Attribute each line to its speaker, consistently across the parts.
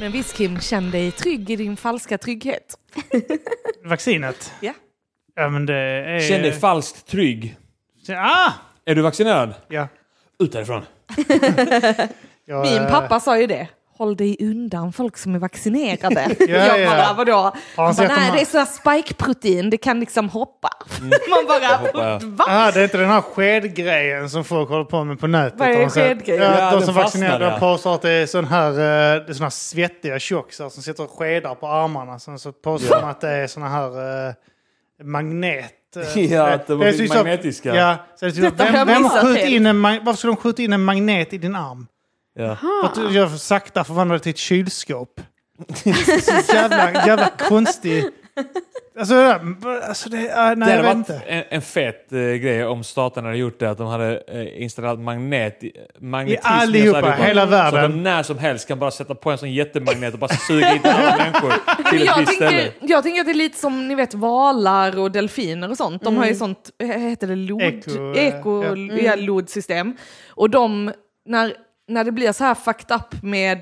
Speaker 1: Men visst Kim, känn dig trygg i din falska trygghet.
Speaker 2: Vaccinet?
Speaker 1: Ja.
Speaker 2: Ja, men det är...
Speaker 3: Känn dig falskt trygg.
Speaker 2: Ah!
Speaker 3: Är du vaccinerad?
Speaker 2: Ja.
Speaker 3: Ut därifrån.
Speaker 2: Jag,
Speaker 1: Min
Speaker 2: eh,
Speaker 1: pappa sa ju det. Håll dig undan folk som är vaccinerade.
Speaker 2: Ja,
Speaker 1: Jag
Speaker 2: ja.
Speaker 1: bara, vadå?
Speaker 2: Har han
Speaker 1: Han bara,
Speaker 2: sett de
Speaker 1: nej,
Speaker 2: här-
Speaker 1: det är sådana spike-protein, det kan liksom hoppa.
Speaker 2: Mm.
Speaker 1: Man
Speaker 3: hoppar, ja.
Speaker 1: bara, va?
Speaker 2: Ah, det är inte den här skedgrejen som folk håller på med på nätet.
Speaker 1: Vad är
Speaker 2: Har de sett-
Speaker 1: skedgrejen?
Speaker 2: Ja,
Speaker 3: Ja,
Speaker 2: de
Speaker 3: den
Speaker 2: som
Speaker 3: fastnar,
Speaker 2: vaccinerade
Speaker 3: ja.
Speaker 2: påstår att det är sån här, eh, det är såna här svettiga tjockisar som sitter och skedar på armarna. Sen så påstår de att det är såna här eh, magnet... eh,
Speaker 3: Ja, att de
Speaker 2: det är
Speaker 3: blir
Speaker 2: så-
Speaker 3: magnetiska.
Speaker 2: Ja, så det är typ,
Speaker 1: Detta har
Speaker 2: vem,
Speaker 1: jag
Speaker 2: vem
Speaker 1: missat
Speaker 2: sköt
Speaker 1: helt.
Speaker 2: in en, mag- varför skulle de skjuta in en magnet i din arm?
Speaker 3: Ja.
Speaker 2: För att du jag sakta förvandlade till ett kylskåp. så jävla, jävla konstig... Alltså, det där- alltså det, ah, nej,
Speaker 3: Det
Speaker 2: jag
Speaker 3: hade
Speaker 2: vet
Speaker 3: varit
Speaker 2: inte.
Speaker 3: en, en fet eh, grej om staten hade gjort det, att de hade eh, installerat magnet, magnetism
Speaker 2: I allihopa, hela
Speaker 3: Så att
Speaker 2: världen.
Speaker 3: de när som helst kan bara sätta på en sån jättemagnet och bara suga in alla människor till ett
Speaker 1: Jag
Speaker 3: visst ställe.
Speaker 1: tänker, jag tänker att det är lite som ni vet valar och delfiner och sånt. De har
Speaker 3: Mm.
Speaker 1: ju sånt, eh, heter det lod?
Speaker 2: Eko, eh,
Speaker 1: Eko,
Speaker 2: ja.
Speaker 1: ja, lodsystem. Och de, när, när det blir så här fucked up med,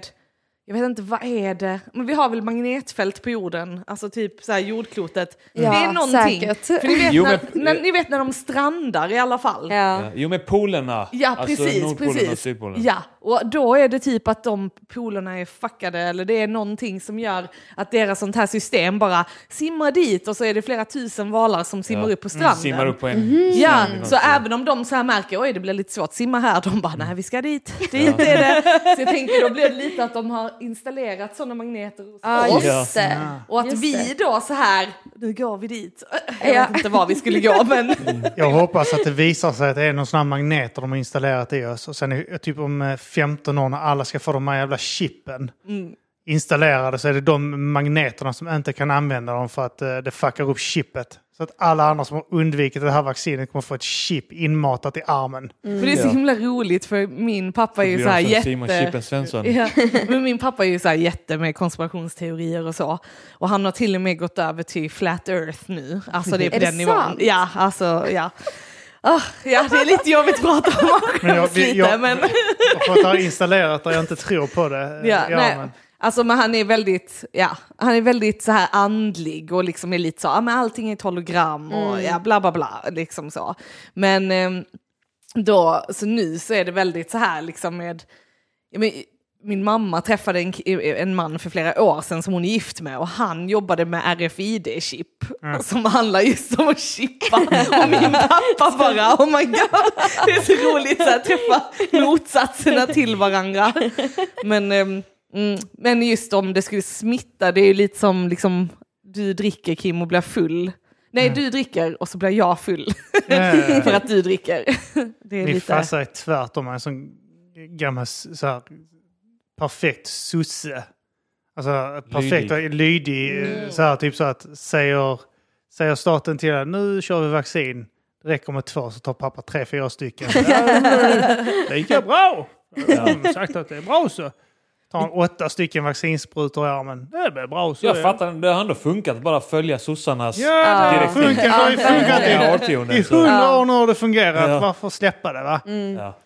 Speaker 1: jag vet inte vad är det, men vi har väl magnetfält på jorden, alltså typ så här jordklotet.
Speaker 4: Ja,
Speaker 1: det är någonting.
Speaker 4: säkert.
Speaker 1: För ni vet,
Speaker 3: Jo,
Speaker 1: när,
Speaker 3: men-
Speaker 1: när, ni vet när de strandar i alla fall.
Speaker 4: Ja.
Speaker 3: Ja. Jo, med polerna.
Speaker 1: Ja,
Speaker 3: alltså
Speaker 1: precis.
Speaker 3: Nordpolen och
Speaker 1: precis.
Speaker 3: Sydpolen.
Speaker 1: Ja, och då är det typ att de polerna är fuckade eller det är någonting som gör att deras sånt här system bara simmar dit och så är det flera tusen valar som simmar upp på stranden.
Speaker 3: Mm,
Speaker 1: Mhm.
Speaker 3: Simmar upp på en.
Speaker 1: Ja,
Speaker 3: Mm.
Speaker 1: så även om de så här märker oj det blir lite svårt att simma här, de bara nej vi ska dit, dit är det. Så jag tänker då blir det lite att de har installerat sådana magneter hos
Speaker 4: Ja,
Speaker 1: oss.
Speaker 4: just det.
Speaker 1: Och att
Speaker 4: just
Speaker 1: vi
Speaker 4: det.
Speaker 1: då så här, nu går vi dit.
Speaker 4: Ja.
Speaker 1: Jag vet inte var vi skulle gå men
Speaker 2: Jag hoppas att det visar sig att det är någon sån här magnet de har installerat i oss. Och sen är- typ om eh, 15 år när alla ska få de här jävla chippen installerade så är det de magneterna som inte kan använda dem för att eh, det fuckar upp chippet. Så att alla andra som har undvikit det här vaccinet kommer få ett chip inmatat i armen.
Speaker 1: För det är så
Speaker 3: Ja.
Speaker 1: himla roligt för min pappa är ju
Speaker 3: Blir
Speaker 1: så här
Speaker 3: de som
Speaker 1: jätte...
Speaker 3: Simon Chippen Svensson.
Speaker 1: Ja, men min pappa är ju så här jätte med konspirationsteorier och så. Och han har till och med gått över till flat earth nu. Alltså det är på
Speaker 4: Är det
Speaker 1: den nivån.
Speaker 4: sant?
Speaker 1: Ja, alltså ja. Ah, ja, det är lite jobbigt att prata om och
Speaker 2: Men jag-
Speaker 1: skäms
Speaker 2: vi-
Speaker 1: lite,
Speaker 2: jag-
Speaker 1: men...
Speaker 2: Och för att jag har installerat där jag inte tror på det. eh,
Speaker 1: Ja,
Speaker 2: i
Speaker 1: nej.
Speaker 2: armen.
Speaker 1: Alltså men han är väldigt, ja, han är väldigt så här andlig och liksom är lite så, ja men allting är ett hologram och ja bla bla bla liksom så. Men ehm, då, så nu så är det väldigt så här liksom med, ja, men, min mamma träffade en, ki- en man för flera år sedan som hon är gift med och han jobbade med RFID-chip som handlar just om att chippa. Och min pappa bara, oh my god, det är så roligt så här, att träffa motsatserna till varandra. Men, ehm, mm, men just om det skulle smitta, det är ju lite som liksom, du dricker Kim och blir full. Nej, du dricker och så blir jag full
Speaker 2: Ja, ja, ja.
Speaker 1: för att du dricker. Det är
Speaker 2: Min
Speaker 1: lite...
Speaker 2: farsa är tvärtom en sån gammal s- så här, perfekt sosse. Alltså perfekt
Speaker 3: Lydig.
Speaker 2: lydig. lydig eh,
Speaker 1: Mm.
Speaker 2: så här, typ så att säger, säger staten till dig, nu kör vi vaccin. Det räcker med två så tar pappa tre, fyra stycken. det gick ju bra! De har sagt att det är bra så. Tar han åtta stycken vaccinsprutor i armen. Det är väl bra så.
Speaker 3: Jag fattar, det har ändå funkat att bara följa sossarnas...
Speaker 2: Ja, det har
Speaker 3: Direkt.
Speaker 2: funkat. Det har ju funkat i-
Speaker 3: Ja,
Speaker 2: i
Speaker 3: årtionden. så-
Speaker 2: hundra år nu har det fungerat.
Speaker 3: Ja.
Speaker 2: Varför släppa det va?
Speaker 1: Mm.
Speaker 3: Ja.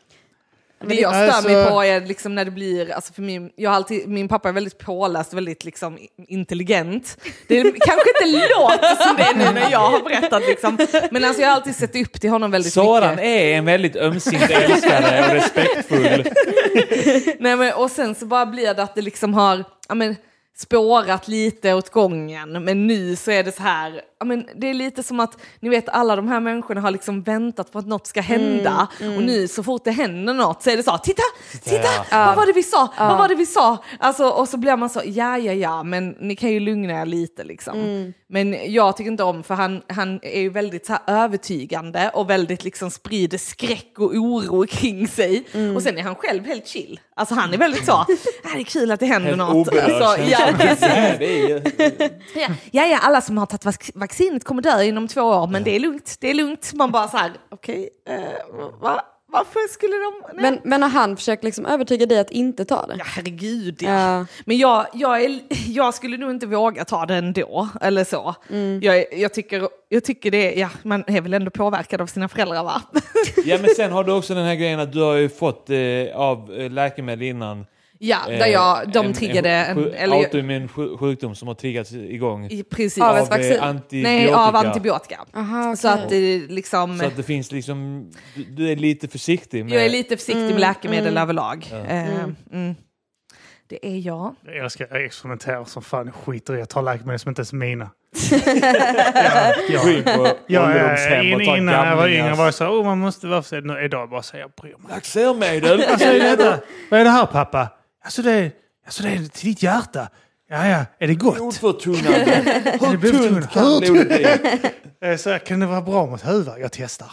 Speaker 1: Det jag stör
Speaker 2: Alltså-
Speaker 1: mig på är liksom när det blir, alltså för min, jag har alltid, min pappa är väldigt påläst och väldigt liksom intelligent. Det är, kanske inte låter som det är nu när jag har berättat liksom. Men alltså jag har alltid sett upp till honom väldigt
Speaker 3: Soran
Speaker 1: mycket.
Speaker 3: är en väldigt ömsint älskare och respektfull.
Speaker 1: Nej, men, och sen så bara blir det att det liksom har ja, men, spårat lite åt gången. Men nu så är det så här, ja, men, det är lite som att ni vet alla de här människorna har liksom väntat på att något ska hända.
Speaker 3: Mm,
Speaker 1: Och nu så fort det händer något så är det så, titta, titta,
Speaker 3: ja.
Speaker 1: vad var det vi sa, vad var det vi sa? Alltså, och så blir man så, ja ja ja, men ni kan ju lugna er lite liksom. Men jag tycker inte om, för han, han är ju väldigt så här övertygande och väldigt liksom sprider skräck och oro kring sig. Och sen är han själv helt chill. Alltså han är väldigt så, "Ah, det är kul att det händer
Speaker 3: Helt
Speaker 1: något.
Speaker 3: oberörd.
Speaker 1: Alltså, ja, precis.
Speaker 3: Nej, det är ju...
Speaker 1: Ja, ja, ja, alla som har tagit vac- vaccinet kommer dö inom två år, men det är lugnt, det är lugnt. Man bara så här, okej, eh, va? varför skulle de... Nej.
Speaker 4: Men, men har han försökt liksom övertyga dig att inte ta det?
Speaker 1: Ja, herregud ja.
Speaker 4: Ja.
Speaker 1: Men jag, jag, är, jag skulle nog inte våga ta det ändå, eller så. Jag, är- jag, tycker, jag tycker det, är- ja, man är väl ändå påverkad av sina föräldrar va?
Speaker 3: Ja men sen har du också den här grejen att du har ju fått eh, av eh, läkemedel innan.
Speaker 1: Ja,
Speaker 3: eh,
Speaker 1: där jag, de triggade...
Speaker 3: En,
Speaker 1: En,
Speaker 3: sju-
Speaker 1: eller,
Speaker 3: autoimmun sju- sjukdom som har triggats igång
Speaker 1: i- precis.
Speaker 4: Av
Speaker 3: av,
Speaker 4: ett vaccin?
Speaker 3: eh, antibiotika.
Speaker 1: Nej, av antibiotika.
Speaker 4: Aha,
Speaker 1: Så
Speaker 4: okej.
Speaker 1: att det liksom...
Speaker 3: Så att det finns liksom, du, du är lite försiktig med...
Speaker 1: jag är lite försiktig med läkemedel överlag. Eh, mm. Det är jag.
Speaker 2: Jag älskar jag experimenterar som fan. Jag skiter i att ta läkemedel som inte ens är mina.
Speaker 3: Gå in på
Speaker 2: Jag,
Speaker 3: ålderdomshem
Speaker 2: in,
Speaker 3: och ta
Speaker 2: innan jag var yngre
Speaker 3: gamlingars-
Speaker 2: var jag så här, oh, man måste vara försiktig. Nu idag bara säger jag bryr mig.
Speaker 3: Laxermedel!
Speaker 2: Alltså, är det detta? Vad är det här pappa? Alltså det, är- alltså, det är till ditt hjärta. Ja, ja, är det gott?
Speaker 3: Blodförtunnande.
Speaker 2: Är det blodtungt?
Speaker 3: Kan blodet bli?
Speaker 2: Eh, Så här, kan det vara bra mot huvud? Jag testar.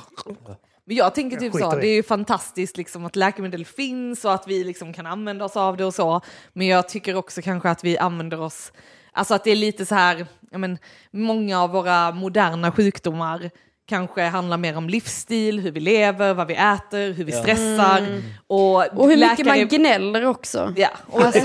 Speaker 1: Men jag tänker typ så,
Speaker 2: skiter i.
Speaker 1: det är ju fantastiskt liksom att läkemedel finns och att vi liksom kan använda oss av det och så. Men jag tycker också kanske att vi använder oss, alltså att det är lite så här, ja men, många av våra moderna sjukdomar kanske handlar mer om livsstil, hur vi lever, vad vi äter, hur vi stressar. Och,
Speaker 4: Och hur mycket
Speaker 1: läkare-
Speaker 4: man gnäller också.
Speaker 1: Ja, och
Speaker 4: Alltså,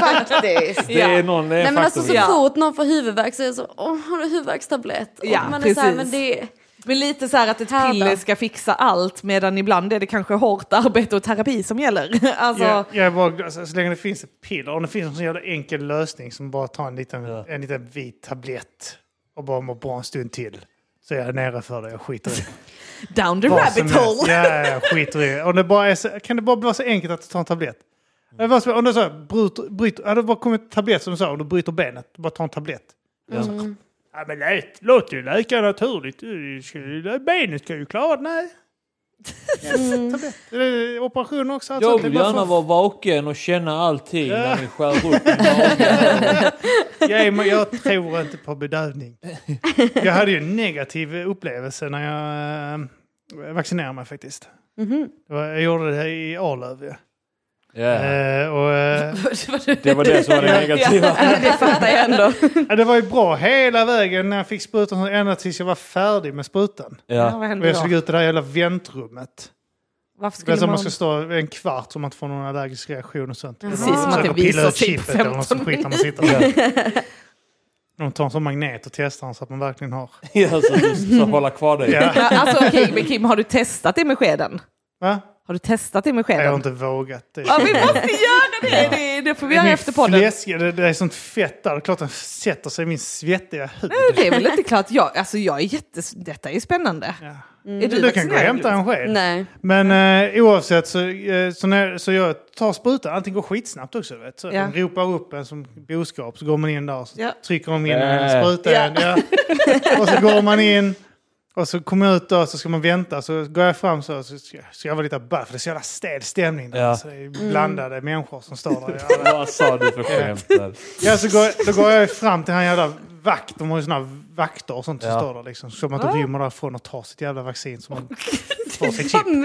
Speaker 1: faktiskt.
Speaker 3: Det är någon
Speaker 4: nej, men alltså, så
Speaker 1: Ja.
Speaker 4: fort någon får huvudvärk så är det så, åh har du huvudvärkstablett? Och
Speaker 1: Ja,
Speaker 4: man är så här,
Speaker 1: precis.
Speaker 4: men det är...
Speaker 1: Men lite så här att ett
Speaker 4: Här då?
Speaker 1: piller ska fixa allt medan ibland är det kanske hårt arbete och terapi som gäller. Alltså,
Speaker 2: Jag, jag är bara, alltså, så länge det finns ett piller, om det finns en sån jävla enkel lösning som bara tar en liten,
Speaker 3: Ja.
Speaker 2: en liten vit tablett och bara mår bra en stund till. Så är jag nere för det, jag skiter i det.
Speaker 1: Down the
Speaker 2: Vad
Speaker 1: rabbit
Speaker 2: som
Speaker 1: hole!
Speaker 2: helst. Ja, ja, ja, skiter i det. Om det bara är så, kan det bara vara så enkelt att ta en tablett? Det var så- Om du sa, bryter, bryter, hade det bara kommit en tablett som du sa, om du bryter benet, bara ta en tablett. Jag sa,
Speaker 4: Mm.
Speaker 2: Ja, men lät, låt ju läka naturligt. Du ska ju- Benet ska ju klara det. Nej. Tablett. Det är Operation också. allt
Speaker 3: Jag
Speaker 2: sånt. Det är
Speaker 3: vill
Speaker 2: bara
Speaker 3: gärna
Speaker 2: för-
Speaker 3: vara vaken och känna allting
Speaker 2: Ja.
Speaker 3: när ni skär upp min mage.
Speaker 2: Jag, är- jag tror inte på bedövning. Jag hade ju en negativ upplevelse när jag eh, vaccinerade mig faktiskt.
Speaker 1: Mhm.
Speaker 2: Det var- Jag gjorde det i Arlöv. Ja.
Speaker 3: Ja.
Speaker 2: Eh, och, eh,
Speaker 3: Det var det som var det negativa.
Speaker 1: Ja, det fattar jag ändå.
Speaker 2: ja, det var ju bra hela vägen när jag fick sprutan ända tills jag var färdig med sprutan.
Speaker 1: Ja,
Speaker 3: Ja.
Speaker 1: vad
Speaker 2: Och
Speaker 1: hände
Speaker 2: jag såg
Speaker 1: då?
Speaker 2: ut i det där jävla väntrummet.
Speaker 1: Varför
Speaker 2: Det är
Speaker 1: skulle
Speaker 2: som
Speaker 1: man...
Speaker 2: man ska stå en kvart så man inte får någon allergisk reaktion och sånt.
Speaker 1: Precis,
Speaker 2: Man
Speaker 1: som att
Speaker 2: försöker
Speaker 1: det visar typ
Speaker 2: pilla
Speaker 1: sig
Speaker 2: ut
Speaker 1: på
Speaker 2: chippet eller något sånt
Speaker 1: 15
Speaker 2: skit när man sitter där. De tar en sån magnet och testar den så att man verkligen har.
Speaker 3: Ja, så du ska hålla kvar dig.
Speaker 2: Ja.
Speaker 1: Ja, alltså okej, men Kim, har du testat det med skeden?
Speaker 2: Va?
Speaker 1: Har du testat det med
Speaker 2: Jag har
Speaker 1: skeden?
Speaker 2: inte vågat det.
Speaker 1: Ja, vi måste göra det! Det, det får vi göra
Speaker 2: Min
Speaker 1: efter podden.
Speaker 2: fläsk, det, det är sånt fett där. Det är klart den sätter sig i min svettiga hud.
Speaker 1: Det är väl inte klart. Jag, alltså, jag är jättes... Detta är ju spännande.
Speaker 2: Ja.
Speaker 1: Är
Speaker 2: Du, du kan gå och
Speaker 1: vaccinerad?
Speaker 2: hämta en sked.
Speaker 4: Nej.
Speaker 2: Men eh, oavsett så, eh, så, när, så jag tar sprutan, allting går skitsnabbt också. du Vet. Så
Speaker 1: Ja.
Speaker 2: De ropar upp en som boskap, så går man in där och så
Speaker 1: Ja.
Speaker 2: trycker de in
Speaker 3: Äh.
Speaker 2: en spruta.
Speaker 1: Ja.
Speaker 2: igen, Ja. Och så går man in och så kommer jag ut då så ska man vänta. Så går jag fram så, så ska, ska jag vara lite bög för det är så jävla stel stämning där.
Speaker 3: Ja.
Speaker 2: Så det är blandade människor som står där.
Speaker 3: Vad sa du för skämt där?
Speaker 2: Ja, så går, då går jag fram till han jävla vakt. De har ju såna vakter och sånt som
Speaker 3: Ja.
Speaker 2: står där liksom. Så man inte rymmer därifrån och tar sitt jävla vaccin. Så man får sitt chip.
Speaker 4: Fan,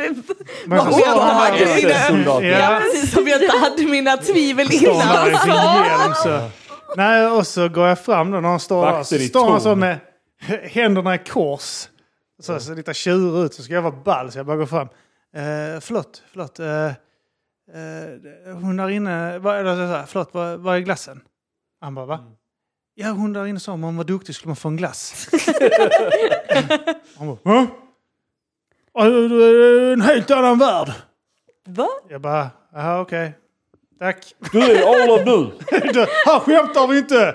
Speaker 2: Men så
Speaker 1: vad
Speaker 2: står han
Speaker 1: menar
Speaker 2: där-
Speaker 1: du?
Speaker 3: SS-soldater.
Speaker 1: Ja, precis som jag inte hade mina tvivel
Speaker 2: står han där
Speaker 1: innan.
Speaker 2: i sin hjälm så. Nej, och så går jag fram då när han står där.
Speaker 3: Vakter
Speaker 2: Så
Speaker 3: i
Speaker 2: står han så
Speaker 3: torn.
Speaker 2: med händerna i kors. Så, så lite tjurig ut. Så ska jag vara ball så jag bara går fram. Eh, förlåt, förlåt. Eh, eh, hon där inne, vad, eller så här, förlåt, vad, vad är glassen? Han bara, va? Ja, hon där inne sa om man var duktig skulle man få en glass. han bara, va? Ja, det är En helt annan värld.
Speaker 1: Va?
Speaker 2: Jag bara, jaha okej. Tack.
Speaker 3: Du är Arlöv nu!
Speaker 2: Du, han skämtar vi inte!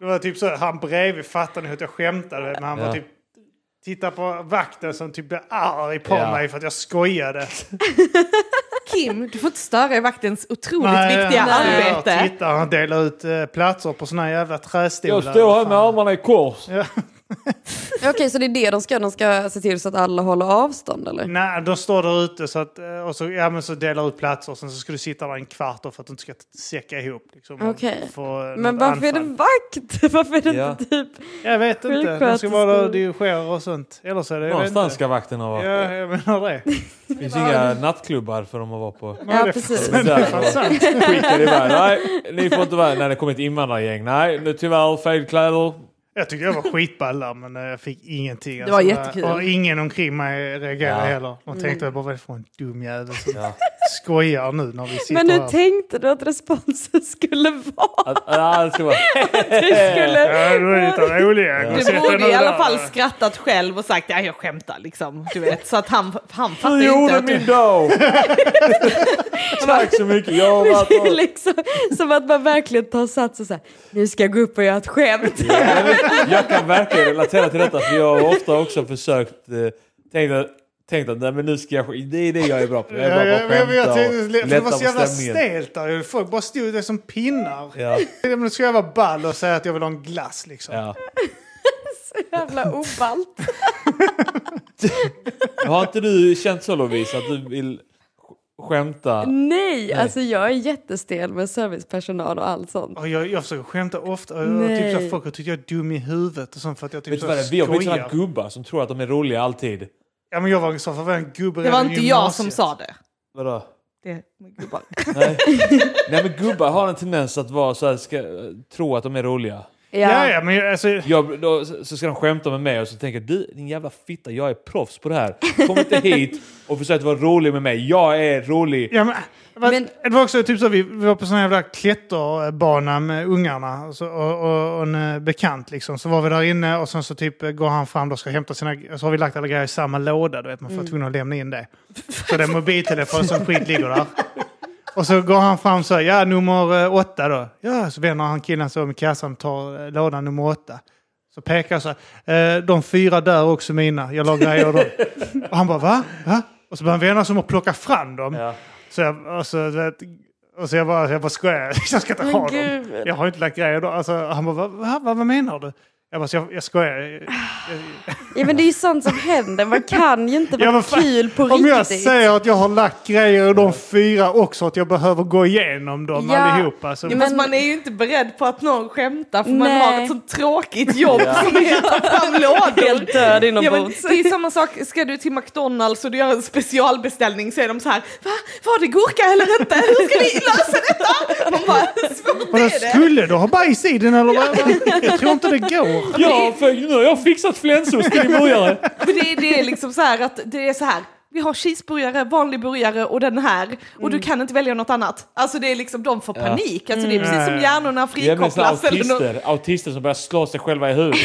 Speaker 2: Det var typ så, han bredvid fattade nu att jag skämtade. Men han var
Speaker 3: Ja.
Speaker 2: typ... Titta på vakten som typ blev arg på
Speaker 3: Ja.
Speaker 2: mig för att jag skojade.
Speaker 1: Kim, du får inte störa i vaktens otroligt viktiga
Speaker 2: nej, Jag
Speaker 1: arbete.
Speaker 2: tittar, han delar ut eh, platser på såna jävla trästolar.
Speaker 3: Jag står här
Speaker 2: Fan.
Speaker 3: med armarna i kors.
Speaker 4: Okej, så det är det de ska göra? De ska se till så att alla håller avstånd
Speaker 1: Mm,
Speaker 4: eller?
Speaker 2: Nej, de står där ute så att, eh, och så, ja, men så delar ut platser och sen så ska du sitta där en kvart då för att du inte ska säcka ihop. Liksom, och
Speaker 4: Okej.
Speaker 2: få, eh,
Speaker 4: Men
Speaker 2: något
Speaker 4: varför är det
Speaker 2: anfall.
Speaker 4: vakt? Varför är det
Speaker 3: Ja.
Speaker 4: inte typ...
Speaker 2: Jag vet inte. De ska
Speaker 4: Sjuksköterskor?
Speaker 2: vara där och dirigera och sånt. Eller så är det... jag vet
Speaker 3: Någonstans
Speaker 2: inte.
Speaker 3: ska vakten ha varit.
Speaker 2: Ja, jag menar det.
Speaker 3: Det finns inga nattklubbar för dem att vara på.
Speaker 4: Ja, precis.
Speaker 2: Men det är fan sant.
Speaker 3: Skickar iväg. Nej, ni får inte vara När det kommer ett invandrargäng. Nej, nu tyvärr fel kläder.
Speaker 2: Jag tyckte jag var skitball där, men eh, jag fick ingenting. Alltså,
Speaker 1: Det var jättekul.
Speaker 2: Och ingen omkring mig reagerade
Speaker 3: Ja.
Speaker 2: heller. De tänkte bara, vad är det för en dum jävel som
Speaker 3: Ja.
Speaker 2: skojar nu när vi sitter
Speaker 4: Men hur
Speaker 2: här.
Speaker 4: tänkte du att responsen skulle vara?
Speaker 3: Att, allt var,
Speaker 4: Du skulle...
Speaker 2: Ja, du är lite rolig. Jag
Speaker 1: Du
Speaker 2: sätter
Speaker 1: borde
Speaker 2: nu
Speaker 1: i alla
Speaker 2: där.
Speaker 1: fall skrattat själv och sagt ja jag skämtar liksom. Du vet, så att han, han fattar
Speaker 3: du
Speaker 1: ju inte.
Speaker 3: gjorde
Speaker 1: Att
Speaker 3: min
Speaker 1: du...
Speaker 3: dag! Tack så mycket, jag har varit
Speaker 4: Det är
Speaker 3: och...
Speaker 4: liksom som att man verkligen tar sats och säger nu ska jag gå upp och göra ett skämt.
Speaker 3: Jag vet- Jag kan verkligen relatera till detta för jag har ofta också försökt eh, tänkt att, tänkt att nej, men nu ska jag, sk- det är det jag är bra på. Jag
Speaker 2: Ja,
Speaker 3: är
Speaker 2: ja,
Speaker 3: bra på
Speaker 2: men jag
Speaker 3: att
Speaker 2: tänkte-
Speaker 3: skämta
Speaker 2: för
Speaker 3: och
Speaker 2: Det
Speaker 3: lätta
Speaker 2: var
Speaker 3: på
Speaker 2: så jävla
Speaker 3: stämningen.
Speaker 2: stelt där. Folk bara stod där som pinnar.
Speaker 3: Ja,
Speaker 2: Men nu ska jag vara ball och säga att jag vill ha en glass liksom.
Speaker 3: ja.
Speaker 4: Jävla oballt.
Speaker 3: Har inte du känt så Lovisa att du vill sk- skämta?
Speaker 4: Nej, alltså jag är jättestel med servicepersonal och allt sånt.
Speaker 2: Och jag, jag försöker skämta ofta. Och jag,
Speaker 4: Nej.
Speaker 2: typ, så här, folk har tyckt jag är dum i huvudet och sånt för att jag typ
Speaker 3: Vet
Speaker 2: så
Speaker 3: du vad det
Speaker 2: här
Speaker 3: är? Vi har blivit sådana
Speaker 2: skojar.
Speaker 3: gubbar som tror att de är roliga alltid.
Speaker 2: Ja men jag var så för var jag en gubbe
Speaker 1: Det var
Speaker 2: redan i
Speaker 1: inte jag som
Speaker 2: gymnasiet.
Speaker 1: sa det.
Speaker 3: Vadå?
Speaker 1: det men gud, bara-
Speaker 3: Nej. Nej men gubbar har en tendens att vara så här, ska, tro att de är roliga.
Speaker 2: Ja, ja, men jag, alltså,
Speaker 3: Jag, då, så ska de skämta med mig och så tänker jag, du din jävla fitta, jag är proffs på det här. Kom inte hit och försök att vara rolig med mig. Jag är rolig.
Speaker 2: Ja, men,
Speaker 4: Men-
Speaker 2: det var också typ så, vi, vi var på sån här jävla klätterbana med ungarna och, så, och, och, och en eh, bekant liksom. Så var vi där inne och sen så typ eh, går han fram då och ska hämta sina, så har vi lagt alla grejer i samma låda, du vet man får tvungen att lämna in det. Så det är mobiltelefon som skit ligger där. Och så går han fram så här, ja nummer eh, åtta då. Ja, så vänder han killen så om i kassan och tar eh, låda nummer åtta. Så pekar jag så här, eh, de fyra där är också mina, jag la grejer av dem. Och han bara va? va? Och så börjar han vända sig om och plocka fram dem.
Speaker 3: Ja.
Speaker 2: Så jag, alltså, du vet, och så jag bara, jag bara skojar, jag ska inte
Speaker 4: Men
Speaker 2: ha dem.
Speaker 4: gud.
Speaker 2: Jag har inte lagt grejer då. Alltså, han bara, vad, vad, vad menar du? Jag bara, så jag, jag skojar.
Speaker 4: Ja men det är ju sånt som händer, man kan ju inte
Speaker 2: Ja,
Speaker 4: vara
Speaker 2: men fan,
Speaker 4: kul på
Speaker 2: Om jag
Speaker 4: riktigt.
Speaker 2: säger att jag har lagt grejer och de fyra också, att jag behöver gå igenom dem
Speaker 4: Ja.
Speaker 2: allihopa. Så,
Speaker 4: Ja, men-
Speaker 1: Fast man är ju inte beredd på att någon skämtar för man
Speaker 4: Nej.
Speaker 1: har ett sånt tråkigt jobb som är att ta fram lådor.
Speaker 4: Helt död
Speaker 1: Ja, men
Speaker 4: inombords.
Speaker 1: det är samma sak, ska du till McDonalds och du gör en specialbeställning så är de så här, va? Var det gurka eller inte? Hur ska vi lösa detta? Man bara, "Hur svårt
Speaker 2: Vadå,
Speaker 1: är det?
Speaker 2: skulle du ha bajs i den eller? vad? Jag tror inte det går.
Speaker 3: Ja, för nu har jag fixat flänsost till din burgare.
Speaker 1: För det, är- det är liksom så här att det är så här, vi har cheeseburgare, vanlig burgare och den här och du kan inte välja något annat. Alltså det är liksom, de får panik. Alltså det är precis som hjärnorna
Speaker 3: Jag är med såna
Speaker 1: frikopplas. eller något.
Speaker 3: autister, autister som börjar slå sig själva i huvudet.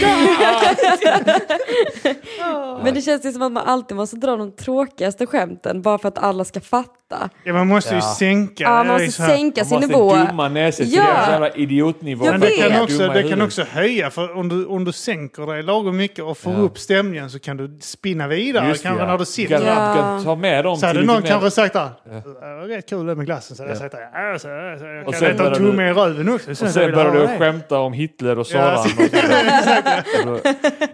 Speaker 4: Men det känns ju som att man alltid måste dra de tråkigaste skämten bara för att alla ska fatta.
Speaker 2: Ja, man måste ju
Speaker 3: Ja.
Speaker 2: sänka.
Speaker 4: Ja,
Speaker 2: det är
Speaker 4: man
Speaker 2: ju så
Speaker 4: måste
Speaker 2: här.
Speaker 4: sänka sin
Speaker 3: Man
Speaker 4: nivå.
Speaker 3: måste dumma ner sig till
Speaker 4: Ja.
Speaker 3: deras jävla idiotnivå.
Speaker 4: Jag
Speaker 2: Men
Speaker 3: Man
Speaker 2: det
Speaker 4: vet.
Speaker 3: är
Speaker 2: kan, också,
Speaker 3: dumma i
Speaker 2: det kan
Speaker 3: huvudet.
Speaker 2: också höja, för om du, om du sänker dig lagom mycket och får
Speaker 3: Ja.
Speaker 2: upp stämningen så kan du spinna vidare
Speaker 3: Just det,
Speaker 2: kanske
Speaker 3: ja.
Speaker 2: när du sitter.
Speaker 3: Garant,
Speaker 4: Ja.
Speaker 3: ta med dem
Speaker 2: Så hade
Speaker 3: lite
Speaker 2: någon
Speaker 3: mer-
Speaker 2: kanske sagt där, det var rätt kul det med glassen. Så hade jag
Speaker 3: Ja.
Speaker 2: sagt där, "Ja, så- ja, så- jag
Speaker 3: Och
Speaker 2: kan
Speaker 3: sen
Speaker 2: äta en
Speaker 3: började du-
Speaker 2: tumme i röven också.
Speaker 3: Och
Speaker 2: så vill
Speaker 3: sen
Speaker 2: jag
Speaker 3: började du
Speaker 2: ha det."
Speaker 3: skämta om Hitler och Soran.
Speaker 2: Ja,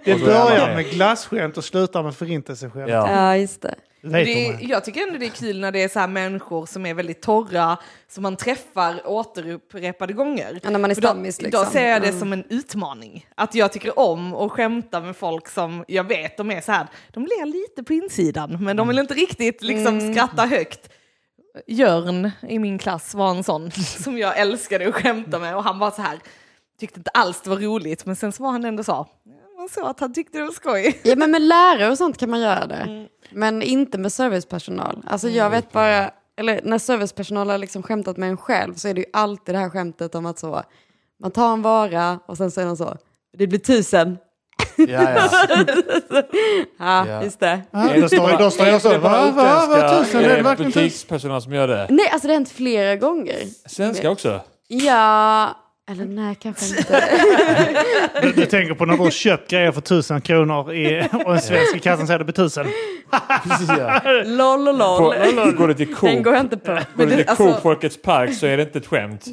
Speaker 2: Det börjar med glasskämt och slutar med förintelseskämt.
Speaker 3: Ja.
Speaker 4: Ja, just det.
Speaker 1: Det
Speaker 2: Leiterman.
Speaker 1: är, jag tycker ändå det är kul när det är så här människor som är väldigt torra, som man träffar återupprepade gånger.
Speaker 4: Ja, när man är
Speaker 1: För då-
Speaker 4: stammis
Speaker 1: Då
Speaker 4: liksom.
Speaker 1: ser jag det
Speaker 4: Mm.
Speaker 1: som en utmaning. Att jag tycker om och skämta med folk som jag vet, de är så här, de ler lite på insidan, men de
Speaker 4: Mm.
Speaker 1: vill inte riktigt liksom skratta högt. Jörn i min klass var en sån som jag älskade att skämta med och han var så här, tyckte inte alls det var roligt, men sen så var han ändå så, man såg att han tyckte det var skoj.
Speaker 4: Ja, men med lärare och sånt kan man göra det.
Speaker 1: Mm.
Speaker 4: Men inte med servicepersonal. Alltså jag vet bara, eller när servicepersonal har liksom skämtat med en själv så är det ju alltid det här skämtet om att så, man tar en vara och sen säger de så, det blir tusen. Ja,
Speaker 3: Ja.
Speaker 4: just det.
Speaker 2: Ja, Då står då står jag så, va, va, vad tusan, det är verkligen tusen.
Speaker 3: butikspersonal som gör det.
Speaker 4: Nej, alltså det har hänt flera gånger.
Speaker 3: Svenska också.
Speaker 4: Ja, eller nej kanske inte.
Speaker 2: Du, du tänker på när du har köpt grejer för tusen kronor i, och en svensk i kassan säger det blir tusen.
Speaker 3: Precis, ja.
Speaker 4: LOL och
Speaker 3: På,
Speaker 4: LOL.
Speaker 3: går det till
Speaker 4: Den
Speaker 3: Coop,
Speaker 4: går jag inte på.
Speaker 3: går det till
Speaker 1: alltså-
Speaker 3: Coop Folkets Park så är det inte ett skämt.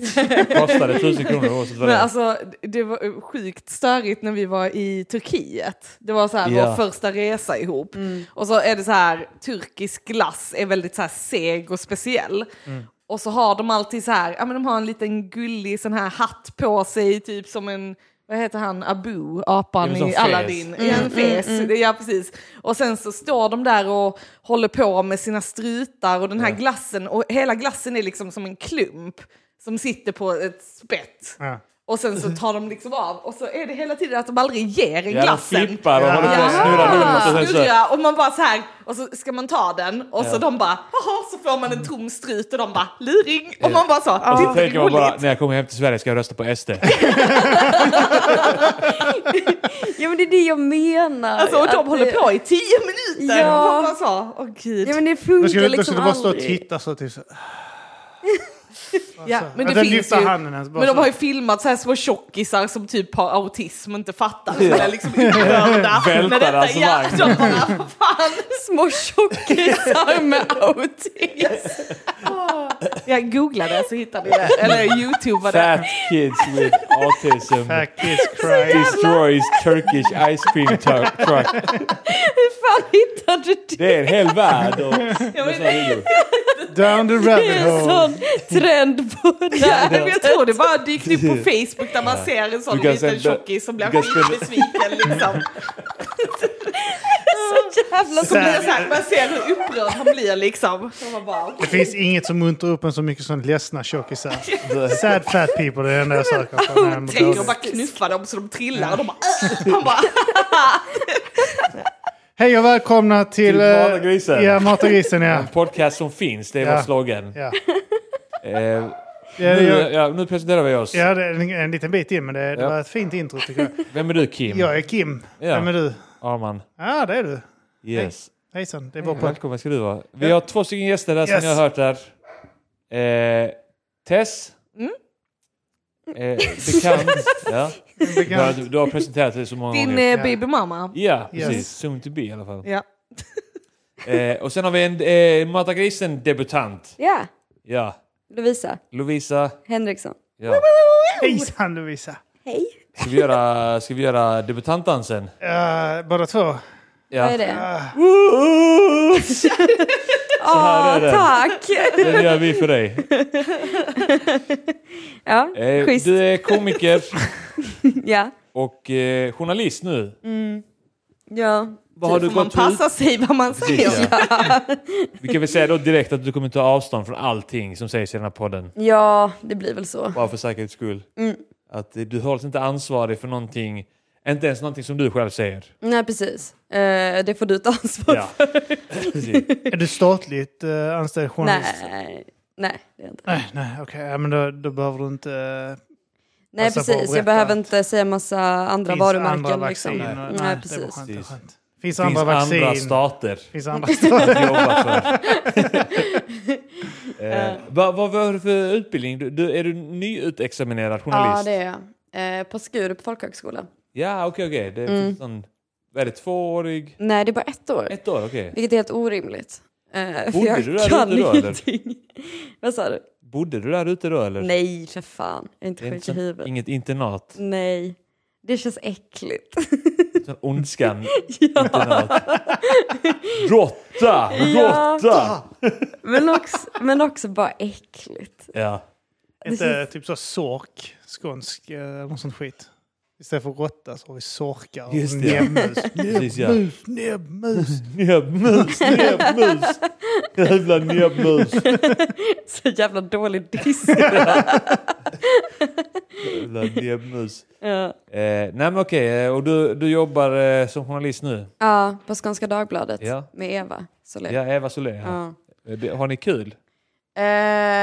Speaker 3: Kostar det tusen kronor oavsett vad det
Speaker 1: Men
Speaker 3: är.
Speaker 1: alltså, det var sjukt störigt när vi var i Turkiet. Det var så här
Speaker 3: Ja.
Speaker 1: vår första resa ihop. Och så är det så här, turkisk glass är väldigt så här seg och speciell.
Speaker 3: Mm.
Speaker 1: Och så har de alltid så här, ja men de har en liten gullig sån här hatt på sig, typ som en vad heter han, Abu,
Speaker 3: Ja,
Speaker 1: apan
Speaker 3: men som
Speaker 1: i
Speaker 3: fes.
Speaker 1: Aladdin. Ja, en fes. Det- Ja, precis. Och sen så står de där och håller på med sina strutar och den här glassen, och hela glassen är liksom som en klump som sitter på ett spett.
Speaker 2: Ja.
Speaker 1: Och sen så tar de liksom av och så är det hela tiden att de aldrig ger en
Speaker 3: Ja, de
Speaker 1: glassen.
Speaker 3: flippar och
Speaker 2: Ja.
Speaker 3: håller på att
Speaker 2: Ja.
Speaker 3: snurra runt. Och sen så,
Speaker 1: snurra och man bara så här och så ska man ta den och så
Speaker 3: Ja.
Speaker 1: de bara haha så får man en tom strut och de bara luring och man bara så
Speaker 3: och Alltså, så
Speaker 1: det är inte
Speaker 3: tänker man
Speaker 1: roligt.
Speaker 3: bara, när jag kommer hem till Sverige ska jag rösta på SD.
Speaker 4: Ja men det är det jag menar.
Speaker 1: alltså, och de
Speaker 4: Att
Speaker 1: håller
Speaker 4: det-
Speaker 1: på i tio minuter.
Speaker 4: Ja.
Speaker 1: Och man bara så, åh gud.
Speaker 4: Ja men det
Speaker 2: Då
Speaker 4: funkar
Speaker 2: skulle, då
Speaker 4: liksom
Speaker 2: skulle du bara stå och
Speaker 4: aldrig.
Speaker 2: titta så typ så.
Speaker 1: Ja, men
Speaker 2: Ja,
Speaker 1: det
Speaker 2: den
Speaker 1: finns
Speaker 2: lyfter
Speaker 1: ju.
Speaker 2: handen ens, bara
Speaker 1: men de
Speaker 2: så.
Speaker 1: har ju filmat så här små tjockisar som typ har autism och inte fattar. Som är liksom upprörda.
Speaker 3: Vältar
Speaker 1: när detta
Speaker 3: alltså
Speaker 1: ja,
Speaker 3: vagn.
Speaker 1: de bara, vad fan.
Speaker 4: Små tjockisar med autism.
Speaker 1: Jag googlade så hittade jag det. Eller youtubade.
Speaker 3: Fat kids with autism
Speaker 2: Fat kids cry.
Speaker 3: destroys Turkish ice cream tu- truck.
Speaker 4: Fan hittade du det?
Speaker 3: Det är en hel värld. Och,
Speaker 1: men-
Speaker 3: med såna videor.
Speaker 2: Down the
Speaker 4: Det
Speaker 2: rabbit
Speaker 4: är en
Speaker 2: hole.
Speaker 4: sån trend på det
Speaker 1: Ja,
Speaker 4: här.
Speaker 1: men jag tror det bara dykt upp på Facebook där man ser en sån
Speaker 3: Du kan
Speaker 1: liten
Speaker 3: sända-
Speaker 1: tjockis som
Speaker 3: du
Speaker 1: blir
Speaker 3: kan spela-
Speaker 1: skitbesviken liksom.
Speaker 4: Så jävla
Speaker 1: Som blir så här, man ser hur upprörd han blir liksom. Och man bara,
Speaker 2: Det finns inget som muntrar upp en så mycket som ledsna tjockisar. Sad fat people, det är det enda jag söker på. när jag mår
Speaker 1: tänker och
Speaker 2: dåligt.
Speaker 1: bara knuffa dem så de trillar och de bara, "Åh!" han bara
Speaker 2: Hej och välkomna till...
Speaker 3: Till
Speaker 2: eh,
Speaker 3: Mata grisen.
Speaker 2: Ja, Mata grisen ja.
Speaker 3: En podcast som finns, det är
Speaker 2: Ja.
Speaker 3: vår slogan.
Speaker 2: Ja,
Speaker 3: Eh,
Speaker 2: ja,
Speaker 3: nu,
Speaker 2: jag,
Speaker 3: ja, nu presenterar vi oss.
Speaker 2: ja det är en, en liten bit in men det, det
Speaker 3: Ja.
Speaker 2: var ett fint intro tycker jag.
Speaker 3: Vem är du Kim?
Speaker 2: Jag är Kim.
Speaker 3: Ja.
Speaker 2: Vem är du?
Speaker 3: Arman.
Speaker 2: Ja, det är du.
Speaker 3: Yes.
Speaker 2: Hejsan, det är vår podd.
Speaker 3: Välkommen ska du vara. Vi har två stycken gäster där
Speaker 2: Yes.
Speaker 3: som ni har hört där. Eh, Tess. Eh, bekant. ja. Ja, du, du har presenterat dig så många
Speaker 1: din
Speaker 3: gånger.
Speaker 1: eh, babymamma.
Speaker 3: Ja, precis.
Speaker 2: Yes.
Speaker 3: Soon to be i alla fall.
Speaker 1: Ja.
Speaker 3: Eh, och sen har vi en eh, Mata Grisen-debutant.
Speaker 4: Ja,
Speaker 3: Ja.
Speaker 4: Lovisa
Speaker 3: Lovisa.
Speaker 4: Henriksson.
Speaker 3: Ja.
Speaker 2: Hejsan Lovisa!
Speaker 4: Hej.
Speaker 3: Ska, vi göra, ska vi göra debutantdansen?
Speaker 2: Ja, Eh, båda två.
Speaker 4: Vad är
Speaker 3: Ja.
Speaker 4: det?
Speaker 3: här
Speaker 2: Ah.
Speaker 4: Ja,
Speaker 3: är den.
Speaker 4: tack.
Speaker 3: Den gör vi för dig.
Speaker 4: Ja,
Speaker 3: Eh,
Speaker 4: schysst.
Speaker 3: du är komiker
Speaker 4: Ja.
Speaker 3: och eh, journalist nu.
Speaker 4: Ja.
Speaker 3: Vad har du
Speaker 1: man
Speaker 3: gått ut?
Speaker 1: passar sig vad man säger.
Speaker 3: Precis, Vi kan väl säga då direkt att du kommer ta avstånd från allting som sägs i den här podden.
Speaker 4: ja, det blir väl så.
Speaker 3: Bara för säkerhets skull.
Speaker 4: Mm.
Speaker 3: Att eh, du hålls inte ansvarig för någonting, inte ens någonting som du själv säger.
Speaker 4: Nej, precis. Eh, det får du ta ansvar
Speaker 3: Ja.
Speaker 4: för.
Speaker 3: Precis.
Speaker 2: Är du statligt uh, anställd journalist?
Speaker 4: Nej, nej, det är jag inte.
Speaker 2: Nej, nej okej. Ja, men då, då behöver du inte... eh,
Speaker 4: Nej,
Speaker 2: Passa på att
Speaker 4: precis.
Speaker 2: berätta
Speaker 4: Jag behöver
Speaker 2: att
Speaker 4: inte säga massa andra
Speaker 2: finns
Speaker 4: varumärken.
Speaker 2: andra
Speaker 4: liksom.
Speaker 2: vacciner.
Speaker 4: Nej,
Speaker 2: Nej, Det var
Speaker 4: precis.
Speaker 2: skönt, det var
Speaker 3: Precis.
Speaker 2: skönt. Finns
Speaker 3: Det finns
Speaker 2: andra vaccin.
Speaker 3: andra stater
Speaker 2: Finns andra stater.
Speaker 3: att jobba för. eh, vad, vad var du för utbildning? Du, du, är du nyutexaminerad journalist?
Speaker 4: Ja, det är jag. Eh, på Skurup folkhögskola.
Speaker 3: Ja, okej, okej. Det är
Speaker 4: Mm.
Speaker 3: typ sån... Vad är det, tvåårig?
Speaker 4: Nej, det är bara ett år.
Speaker 3: Ett år, okej.
Speaker 4: Vilket är helt orimligt. Eh, för
Speaker 3: Bodde
Speaker 4: jag
Speaker 3: du där
Speaker 4: kan
Speaker 3: ute då, eller?
Speaker 4: ingenting. Vad sa du?
Speaker 3: Bodde du där ute då eller?
Speaker 4: Nej, för fan. Jag är inte
Speaker 3: Det är inte
Speaker 4: sjuk i
Speaker 3: sån,
Speaker 4: huvudet.
Speaker 3: inget internat?
Speaker 4: Nej. Det känns äckligt.
Speaker 3: Sån ondskan
Speaker 4: ja,
Speaker 3: internat? Råtta!
Speaker 4: Ja.
Speaker 3: Råtta!
Speaker 4: men, också, men också bara äckligt.
Speaker 3: Ja.
Speaker 2: Inte typ så sork, skånsk eh, eller något sånt skit. Istället för råtta så har vi sorkar och
Speaker 3: Just det, ja.
Speaker 2: näbbmus.
Speaker 3: Precis, ja.
Speaker 2: Näbbmus, näbbmus.
Speaker 3: Näbbmus, näbbmus! Jävla näbbmus!
Speaker 4: Så jävla dålig diss.
Speaker 3: Jävla näbbmus.
Speaker 4: ja.
Speaker 3: Eh, nej men okej, eh, och du, du jobbar eh, som journalist nu?
Speaker 4: ja, på Skånska Dagbladet
Speaker 3: Ja.
Speaker 4: med Eva Solé.
Speaker 3: Ja, Eva Solé. Ja.
Speaker 4: Ja.
Speaker 3: Eh, det- Har ni kul?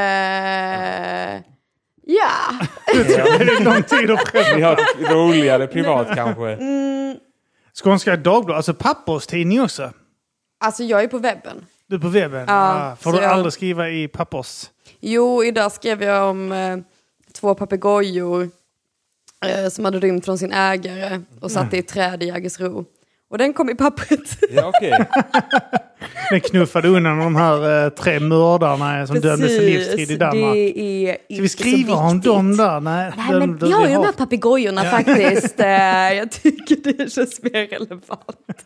Speaker 4: Eh, ja.
Speaker 2: Det är lång tid att
Speaker 3: Ni
Speaker 2: skämta.
Speaker 3: har ett roligare privat kanske?
Speaker 4: Mm,
Speaker 2: Skånska Dagbladet, alltså papperstidning också.
Speaker 4: alltså jag är på webben.
Speaker 2: Du på webben.
Speaker 4: Ja,
Speaker 2: ah, får
Speaker 4: så
Speaker 2: du
Speaker 4: jag-
Speaker 2: aldrig skriva i pappers?
Speaker 4: Jo, idag skrev jag om eh, två papegojor eh, som hade rymt från sin ägare och
Speaker 3: Mm.
Speaker 4: satt i ett träd i Jägersro. Och den kom i pappret.
Speaker 3: Ja, okej.
Speaker 2: Den knuffade undan de här eh, tre mördarna som dömdes till livstid i Danmark.
Speaker 4: Det är
Speaker 2: Ska
Speaker 4: inte
Speaker 2: vi skriva om
Speaker 4: viktigt.
Speaker 2: dem där? Nej,
Speaker 4: Nej, men
Speaker 2: de,
Speaker 4: jag har
Speaker 2: vi
Speaker 4: ju de
Speaker 2: har-
Speaker 4: här papegojorna faktiskt. Eh, jag tycker det känns mer relevant.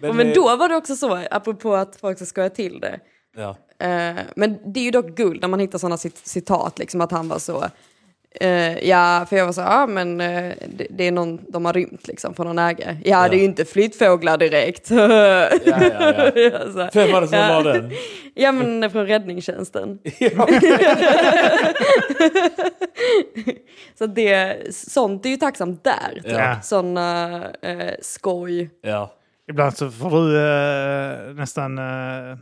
Speaker 4: Men,
Speaker 3: eh,
Speaker 4: men då var det också så, apropå att folk ska skoja till det.
Speaker 3: Ja.
Speaker 4: Eh, men det är ju dock guld när man hittar sådana cit- citat, liksom att han var så Eh, ja, för jag var så, ja men eh, det, det är någon de har rymt liksom från någon ägare. Ja, det är ju inte flyttfåglar direkt. ja,
Speaker 3: Ja, ja, ja.
Speaker 4: så här.
Speaker 3: Vem var det som
Speaker 4: Ja.
Speaker 3: la den?
Speaker 4: ja, men från räddningstjänsten. så det, sånt är ju tacksamt där. Typ.
Speaker 2: Ja.
Speaker 4: Sådana eh, skoj.
Speaker 3: Ja.
Speaker 2: Ibland så får du eh, nästan eh,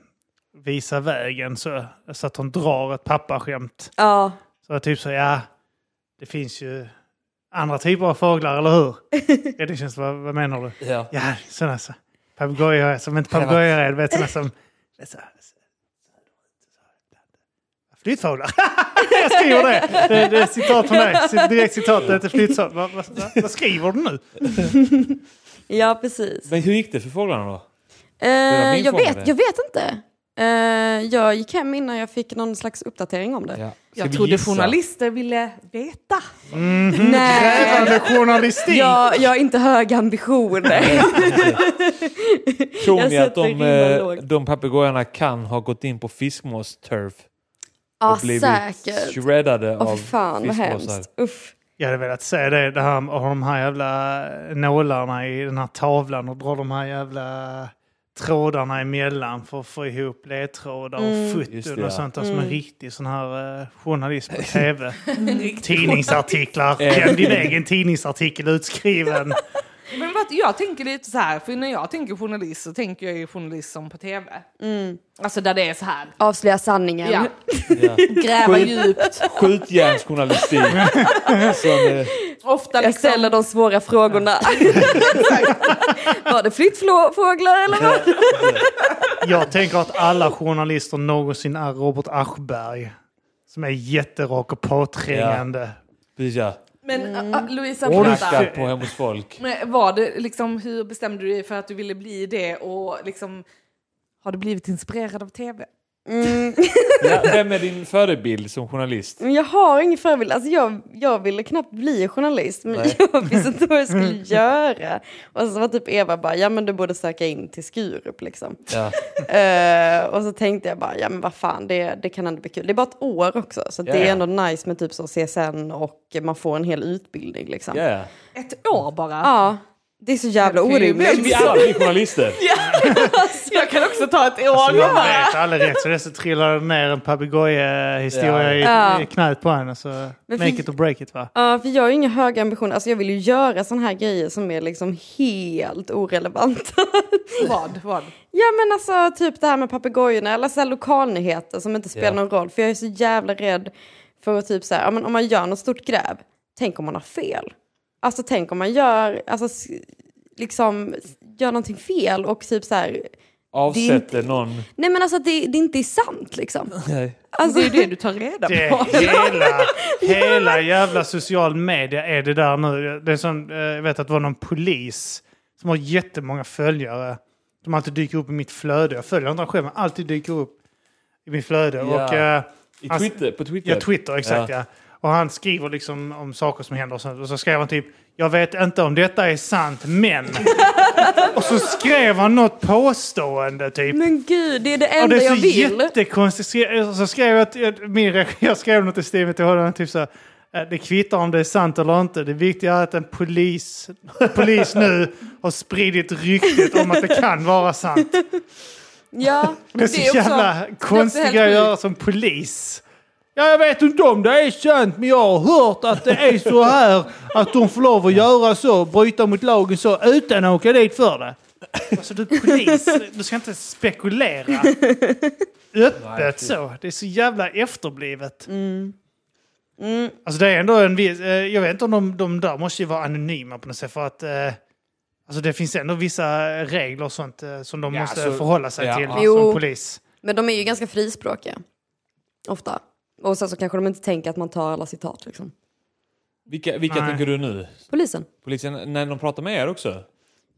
Speaker 2: visa vägen så, så att hon drar ett pappaskämt.
Speaker 4: Ja,
Speaker 2: Så typ så, ja, det finns ju andra typer av fåglar, eller hur? ja, det känns, vad, vad menar du?
Speaker 3: Ja.
Speaker 2: Ja, sådana så. Papegojor, som inte papegojor är, du vet sådana som... så- Flyttfåglar! Jag skriver det! Det, det är ett citat från dig. Ci- Direkt citat, det är inte flyttfåglar. Vad, vad, vad, vad skriver du nu?
Speaker 4: ja precis.
Speaker 3: Men hur gick det för fåglarna då?
Speaker 4: Eh,
Speaker 3: var min
Speaker 4: jag,
Speaker 3: fråga
Speaker 4: vet,
Speaker 3: det.
Speaker 4: jag vet inte. Eh, jag gick hem innan jag fick någon slags uppdatering om det.
Speaker 3: Ja. Ska
Speaker 1: Jag
Speaker 3: vi
Speaker 1: trodde
Speaker 3: gissa?
Speaker 1: journalister ville veta.
Speaker 4: Nej,
Speaker 2: Mhm. Grävande journalistik!
Speaker 4: jag, jag har inte höga ambitioner.
Speaker 3: Tror
Speaker 4: Jag
Speaker 3: ni att de,
Speaker 4: sätter ribban
Speaker 3: eh,
Speaker 4: lågt.
Speaker 3: de papegojorna kan ha gått in på fiskmås-turf
Speaker 4: ja,
Speaker 3: och blivit
Speaker 4: säkert.
Speaker 3: shreddade
Speaker 4: Åh,
Speaker 3: av
Speaker 4: fy fan vad hemskt. Uff.
Speaker 2: Jag hade velat se det, det här, och de här jävla nålarna i den här tavlan och dra de här jävla trådarna emellan för att få ihop ledtrådar och
Speaker 3: Just
Speaker 2: foton
Speaker 3: det, ja.
Speaker 2: och sånt där som en riktig sån här eh, journalist på tv. Tidningsartiklar,
Speaker 3: Eh.
Speaker 2: kläm din egen tidningsartikel utskriven.
Speaker 1: Men vet, du, jag tänker lite så här, för när jag tänker journalist så tänker jag ju journalist som på tv.
Speaker 4: Mm.
Speaker 1: Alltså där det är så här,
Speaker 4: Avslöja sanningen.
Speaker 1: ja,
Speaker 3: Ja.
Speaker 1: gräva
Speaker 3: Skit.
Speaker 1: djupt.
Speaker 3: Skjutjärnsjournalistik. som, eh,
Speaker 1: Ofta
Speaker 4: Jag
Speaker 1: liksom,
Speaker 4: ställer de svåra frågorna. Var det flyttfåglar eller vad?
Speaker 2: Jag tänker att alla journalister någonsin är Robert Aschberg. Som är jätterak och påträngande.
Speaker 3: precis, ja.
Speaker 1: men
Speaker 4: Mm.
Speaker 1: ä, ä, Louisa
Speaker 2: Har du
Speaker 1: berätta.
Speaker 2: fel?
Speaker 3: Knackat på hemma hos folk.
Speaker 1: Men Var det liksom, hur bestämde du dig för att du ville bli det och liksom, har du blivit inspirerad av tv?
Speaker 4: Mm,
Speaker 3: Ja, vem är din förebild som journalist?
Speaker 4: men jag har ingen förebild. Alltså jag, jag ville knappt bli journalist men
Speaker 3: Nej. Mm.
Speaker 4: jag visste inte vad jag skulle göra. Och så var typ Eva bara, ja men du borde söka in till Skurup liksom.
Speaker 3: Ja.
Speaker 4: Eh, och så tänkte jag bara, ja men vad fan, det, det kan ändå bli kul. Det är bara ett år också, så
Speaker 3: Ja,
Speaker 4: det är
Speaker 3: ja.
Speaker 4: ändå nice med typ så CSN och man får en hel utbildning liksom.
Speaker 3: Ja, ja.
Speaker 1: Ett år bara.
Speaker 4: Ja, det är så jävla
Speaker 1: Det är ju
Speaker 4: orimligt.
Speaker 1: väldigt-
Speaker 3: Vi alla blir journalister.
Speaker 1: Jag kan också ta ett år
Speaker 2: Så Alltså, jag
Speaker 1: bara.
Speaker 2: vet aldrig rätt. Så det så trillade det ner en papegoja-historia i,
Speaker 4: Ja.
Speaker 2: i knät på henne. Så
Speaker 4: Men
Speaker 2: make
Speaker 4: för-
Speaker 2: it or break it va?
Speaker 4: Ja, för jag har ju inga höga ambitioner. Alltså jag vill ju göra såna här grejer som är liksom helt orelevanta.
Speaker 1: Vad, vad?
Speaker 4: ja men alltså typ det här med papegojorna eller så här lokalnyheter som inte spelar
Speaker 3: Ja.
Speaker 4: någon roll. För jag är så jävla rädd för att typ så här, ja, men om man gör något stort gräv, tänk om man har fel. Alltså tänk om man gör, alltså s- liksom s- gör någonting fel och typ så här,
Speaker 3: Avsätter någon.
Speaker 4: nej men alltså det, det inte är sant liksom.
Speaker 3: Nej.
Speaker 4: Alltså,
Speaker 1: Det är ju det du tar reda på.
Speaker 2: Det är hela, hela jävla social media är det där nu. Det är som, eh, jag vet att det var någon polis som har jättemånga följare. De alltid dyker upp i mitt flöde. Jag följer inte honom själv men alltid dyker upp i mitt flöde.
Speaker 3: Ja.
Speaker 2: Och, eh,
Speaker 3: I
Speaker 2: Alltså,
Speaker 3: Twitter, på Twitter.
Speaker 2: Ja, Twitter, exakt ja. Och han skriver liksom om saker som händer och sånt. Och så skrev han typ Jag vet inte om detta är sant, men... och så skrev han något påstående typ.
Speaker 4: Men gud, det är det
Speaker 2: Och
Speaker 4: enda
Speaker 2: det är
Speaker 4: jag
Speaker 2: så
Speaker 4: vill.
Speaker 2: jättekonstigt. Skre- Och så skrev jag, att- jag- min regi- jag skrev något i stil med till honom typ så här, "Eh, det kvittar om det är sant eller inte. Det viktiga är att en polis, polis nu har spridit ryktet om att det kan vara sant.
Speaker 4: Ja.
Speaker 2: Det är så
Speaker 1: Det är också-
Speaker 2: jävla konstigt
Speaker 1: helt
Speaker 2: grej att
Speaker 1: sjukt.
Speaker 2: göra som polis.
Speaker 5: Ja, jag vet inte om det är sant, men jag har hört att det är så här att de får lov att göra så, bryta mot lagen så, utan att åka dit för det.
Speaker 2: Alltså du är polis, du ska inte spekulera öppet så. Det är så jävla efterblivet.
Speaker 5: Mm.
Speaker 2: Alltså det är ändå en viss, eh, jag vet inte om de, de där måste ju vara anonyma på något sätt för att eh, alltså det finns ändå vissa regler och sånt eh, som de
Speaker 3: Ja,
Speaker 2: måste
Speaker 3: så-
Speaker 2: förhålla sig
Speaker 3: ja,
Speaker 2: till
Speaker 3: ja.
Speaker 4: Jo.
Speaker 2: som polis.
Speaker 4: Men de är ju ganska frispråkiga. Ofta. Och sen så kanske de inte tänker att man tar alla citat liksom.
Speaker 3: Vilka, vilka
Speaker 2: Nej.
Speaker 3: tänker du nu?
Speaker 4: Polisen.
Speaker 3: Polisen, när de pratar med er också?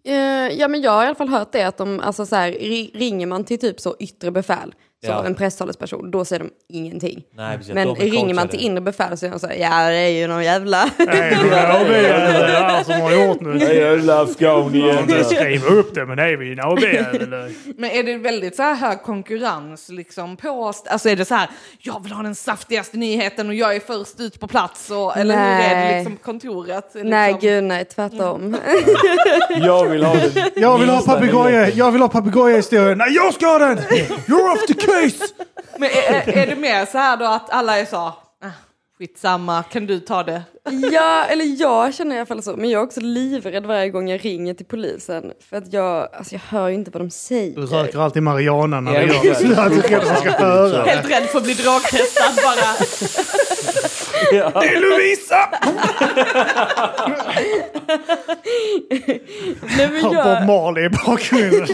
Speaker 4: Eh, ja men jag har i alla fall hört det att de, alltså så här, ri- ringer man till typ så yttre befäl Så
Speaker 3: Ja.
Speaker 4: en presstalesperson, då säger de ingenting.
Speaker 3: Nej, precis,
Speaker 4: Men
Speaker 3: de är
Speaker 4: ringer man
Speaker 3: coachade.
Speaker 4: till inre befäl så är de så här, ja det är ju någon jävla... Liksom.
Speaker 2: AB som har gjort
Speaker 3: Jag
Speaker 2: nu.
Speaker 3: gillar Afghanistan igen.
Speaker 2: Jag skriver upp det, men det är vi en AB.
Speaker 1: Men är det väldigt så här hög konkurrens liksom på, st- alltså är det så här, jag vill ha den saftigaste nyheten och jag är först ut på plats och, eller hur är det
Speaker 4: Nej.
Speaker 1: liksom kontoret? Liksom?
Speaker 4: Nej gud nej, tvärtom.
Speaker 3: Jag vill ha den.
Speaker 2: Jag vill ha
Speaker 3: minsta
Speaker 2: papegoja.
Speaker 3: nyheten.
Speaker 2: Jag vill ha papegojahistorien. Nej, jag ska ha den! You're off the case!
Speaker 1: Men är, är, är det mer så här då att alla är så, "Ah, skitsamma, kan du ta det?
Speaker 4: ja, eller jag känner i alla fall så. Men jag är också livrädd varje gång jag ringer till polisen. För att jag, alltså jag hör ju inte vad de säger.
Speaker 2: Du röker alltid marijuana när
Speaker 3: Ja,
Speaker 2: du
Speaker 3: jag
Speaker 2: gör
Speaker 3: vet.
Speaker 2: det. Jag tycker att man ska höra.
Speaker 1: Helt rädd för att bli drogtestad bara.
Speaker 2: Det är Lovisa!
Speaker 4: Nej men,
Speaker 2: Bob
Speaker 4: jag,
Speaker 2: Marley i bakgrunden.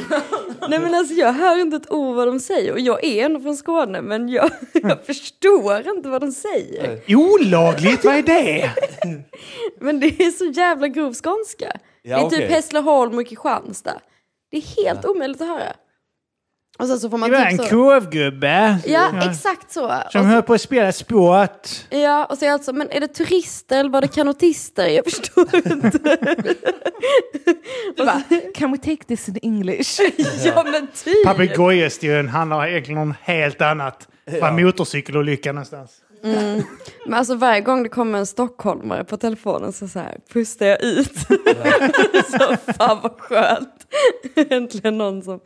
Speaker 4: nej men alltså jag hör inte ett ord vad de säger. Och jag är ändå från Skåne men jag, jag förstår inte vad de säger.
Speaker 2: Olagligt, vad är det?
Speaker 4: Men det är så jävla grov skånska.
Speaker 3: Ja,
Speaker 4: det är typ
Speaker 3: okej.
Speaker 4: Hässleholm och Kristianstad. Det är helt omöjligt att höra. Och sen så får man
Speaker 5: Det var en
Speaker 4: typ så.
Speaker 5: korvgubbe
Speaker 4: Ja, exakt så. Och
Speaker 5: som
Speaker 4: så-
Speaker 5: höll på att spela sport.
Speaker 4: Ja, och så är jag alltså, men är det turister eller var det kanotister? Jag förstår inte.
Speaker 1: Du bara, can we take this in English?
Speaker 4: ja, men typ.
Speaker 2: Papegojahistorien handlar egentligen om helt annat. Det var en motorcykelolycka någonstans.
Speaker 4: Men alltså varje gång det kommer en stockholmare på telefonen så, så här, pustar jag ut. så fan vad skönt. Äntligen någon som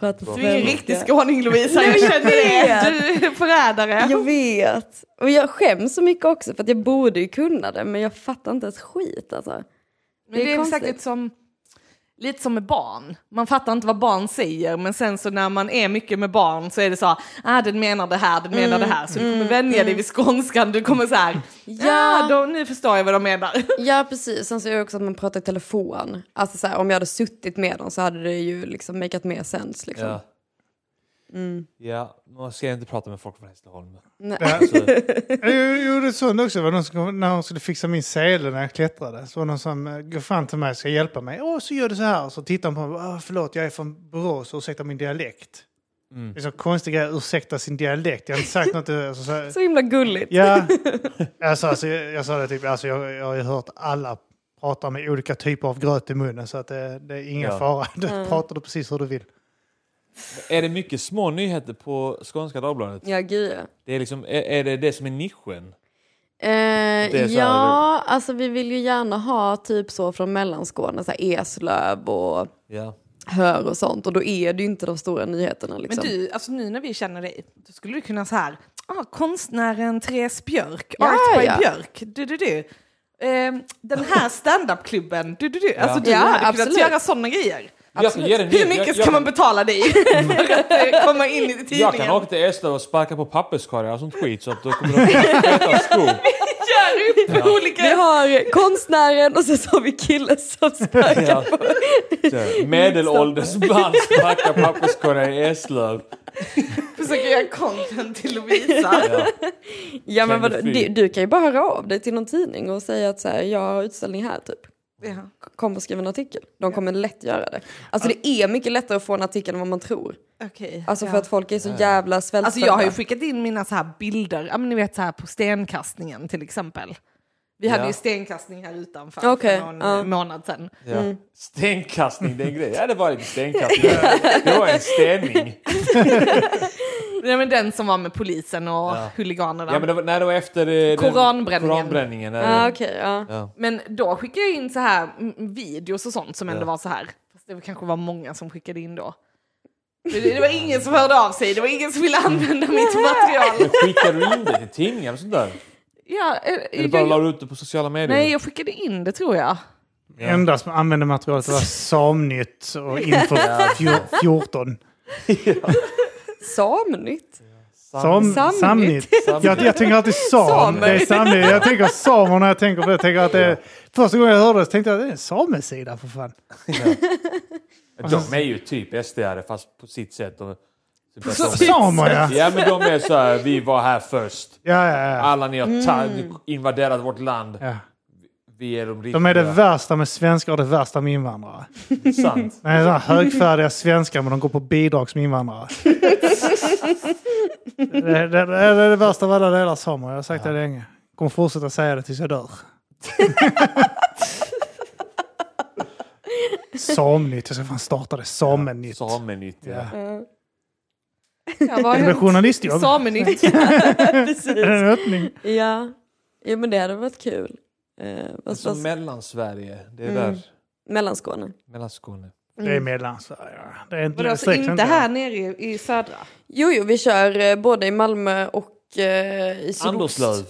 Speaker 4: pratar
Speaker 1: Du är en
Speaker 4: svenska.
Speaker 1: riktig skåning Lovisa, jag känner det. Du är förrädare.
Speaker 4: Jag vet. Och jag skäms så mycket också för att jag borde ju kunna det men jag fattar inte ens skit alltså.
Speaker 1: Men det är,
Speaker 4: konstigt.
Speaker 1: säkert som, lite som med barn. Man fattar inte vad barn säger men sen så när man är mycket med barn så är det så här, ah, den menar det här, den menar det här. Så du kommer vänja dig vid skånskan, du kommer så här, mm, ja, då, nu förstår jag vad de menar.
Speaker 4: Ja precis, sen så är det också att man pratar i telefon. Alltså så här, om jag hade suttit med dem så hade det ju liksom makeat mer sens liksom.
Speaker 3: Ja. ja, man ska inte prata med folk från Hässleholm.
Speaker 2: Ja.
Speaker 3: Alltså,
Speaker 2: Jag gjorde sånt också. Det var någon som, kom- när hon skulle fixa min sele när jag klättrade så var det någon som eh, går fram till mig och ska hjälpa mig. Åh, så gör du så här. Och så tittar hon på mig. Åh, förlåt, jag är från Borås. Ursäkta min dialekt. Det är så konstig grej. Ursäkta sin dialekt. Jag har inte sagt något. Alltså, så, här-
Speaker 4: Så himla gulligt.
Speaker 2: ja. jag, sa, alltså, jag, jag sa det typ. Alltså, jag, jag har ju hört alla prata med olika typer av gröt i munnen. Så att det, det är ingen
Speaker 3: Ja.
Speaker 2: fara. Du pratar du precis hur du vill.
Speaker 3: är det mycket små nyheter på Skånska Dagbladet?
Speaker 4: Ja, gud ja.
Speaker 3: Det är, liksom, är, är det det som är nischen? Det
Speaker 4: Eh,
Speaker 3: är så här-
Speaker 4: ja, alltså vi vill ju gärna ha typ så från Mellanskåne, så här Eslöv och
Speaker 3: Ja.
Speaker 4: Hör och sånt. Och då är det ju inte de stora nyheterna
Speaker 1: Men
Speaker 4: liksom.
Speaker 1: du, alltså nu när vi känner dig, då skulle du kunna så här, ah, konstnären Therese Björk,
Speaker 4: Ja,
Speaker 1: Art by
Speaker 4: ja.
Speaker 1: Björk, du du du. Ehm, den här standupklubben, du du du. Alltså du
Speaker 4: Ja,
Speaker 1: hade
Speaker 4: absolut.
Speaker 1: kunnat göra sådana grejer.
Speaker 3: Jag kan ge dig en
Speaker 1: Hur
Speaker 3: nyhet.
Speaker 1: mycket
Speaker 3: Jag-
Speaker 1: ska
Speaker 3: jag-
Speaker 1: man betala dig för att eh, komma in i tidningen?
Speaker 3: Jag kan åka till Eslöv och sparka på papperskorgar och sånt skit så att då kommer de att äta skor.
Speaker 1: Gör upp på olika...
Speaker 4: Vi har konstnären och sen så har vi killen som sparkar
Speaker 3: Ja.
Speaker 4: på.
Speaker 3: Så, Medelålders man sparkar papperskorgar i Eslöv.
Speaker 1: Försöker göra content till Lovisa.
Speaker 3: Ja.
Speaker 4: Ja, men vadå,
Speaker 3: Känner
Speaker 4: du,
Speaker 3: fri.
Speaker 4: du kan ju bara höra av dig till någon tidning och säga att så här, jag har utställning här typ.
Speaker 1: Ja.
Speaker 4: Kom och skriv en artikel. De kommer lätt göra det. Alltså det är mycket lättare att få en artikel än vad man tror.
Speaker 1: Okej.
Speaker 4: Alltså
Speaker 1: ja.
Speaker 4: för att folk är så jävla svältfödda.
Speaker 1: Alltså jag har ju skickat in mina så här bilder, ja, men ni vet så här på stenkastningen till exempel. Vi hade
Speaker 3: Ja.
Speaker 1: ju stenkastning här utanför
Speaker 4: Okej,
Speaker 1: för någon
Speaker 4: ja.
Speaker 1: eh, månad sedan.
Speaker 3: Ja. Stenkastning, det är en grej. Ja, det var lite stenkastning. Det var en stening.
Speaker 1: Nej, men den som var med polisen och
Speaker 3: Ja.
Speaker 1: huliganerna.
Speaker 3: Ja, men det var, nej, det var efter eh,
Speaker 1: Koranbränningen.
Speaker 3: Den, koranbränningen när-
Speaker 4: Ja, okej. ja.
Speaker 3: ja.
Speaker 1: Men då skickade jag in så här mm, videos och sånt som ändå var så här. Fast det kanske var många som skickade in då. Det, det var ingen som hörde av sig, det var ingen som ville använda mitt material.
Speaker 3: Men skickade du in det till tidningar och sånt där?
Speaker 1: Ja, eh,
Speaker 3: Eller
Speaker 1: jag-
Speaker 3: bara la du ut det på sociala medier?
Speaker 1: nej, jag skickade in det tror jag.
Speaker 3: Ja.
Speaker 2: Endast använde materialet var Samnytt och inför fjor- 14.
Speaker 4: Samnytt.
Speaker 2: Sam, samnytt.
Speaker 4: Samnytt.
Speaker 3: Samnytt.
Speaker 2: Jag, jag tänker alltid sam.
Speaker 4: Samer.
Speaker 2: Det är samnytt. Jag tänker samer när jag tänker på det. Jag tänker att det är, första gången jag hörde det så tänkte jag att det är en samesida för fan.
Speaker 3: De är ju typ SDR fast på sitt sätt. Och,
Speaker 2: Samer ja.
Speaker 3: ja men de är så här, vi var här först.
Speaker 2: Ja, ja, ja.
Speaker 3: Alla ni har ta- invaderat vårt land.
Speaker 2: ja.
Speaker 3: Vi är de riktiga.
Speaker 2: De är det värsta med svenskar och det värsta med invandrare.
Speaker 3: Sant.
Speaker 2: De är sådana högfärdiga svenskar men de går på bidrag som invandrare. Det, det, det är det värsta av alla delar sommar. Jag har sagt det länge. Kommer fortsätta säga det tills jag dör. Samnytt. Jag ska fan starta det. Samenytt.
Speaker 3: Samenytt. Ja.
Speaker 2: Ja.
Speaker 1: Ja, vad
Speaker 2: Är det väl
Speaker 1: har
Speaker 2: journalistjobb?
Speaker 1: Samenytt.
Speaker 2: Är det
Speaker 4: Precis.
Speaker 2: en öppning?
Speaker 4: Ja. Jo men det hade varit kul. Eh, fast,
Speaker 3: Alltså
Speaker 4: fast,
Speaker 3: mellansverige. Det är
Speaker 4: Mm.
Speaker 3: där.
Speaker 4: Mellanskåne.
Speaker 3: Mellanskåne.
Speaker 2: Det är mellansverige. Det är inte
Speaker 1: Vadå, så
Speaker 2: streck,
Speaker 1: inte här nere i, i södra?
Speaker 4: Jo jo, vi kör eh, både i Malmö och eh, i sydost.
Speaker 3: Anderslöv.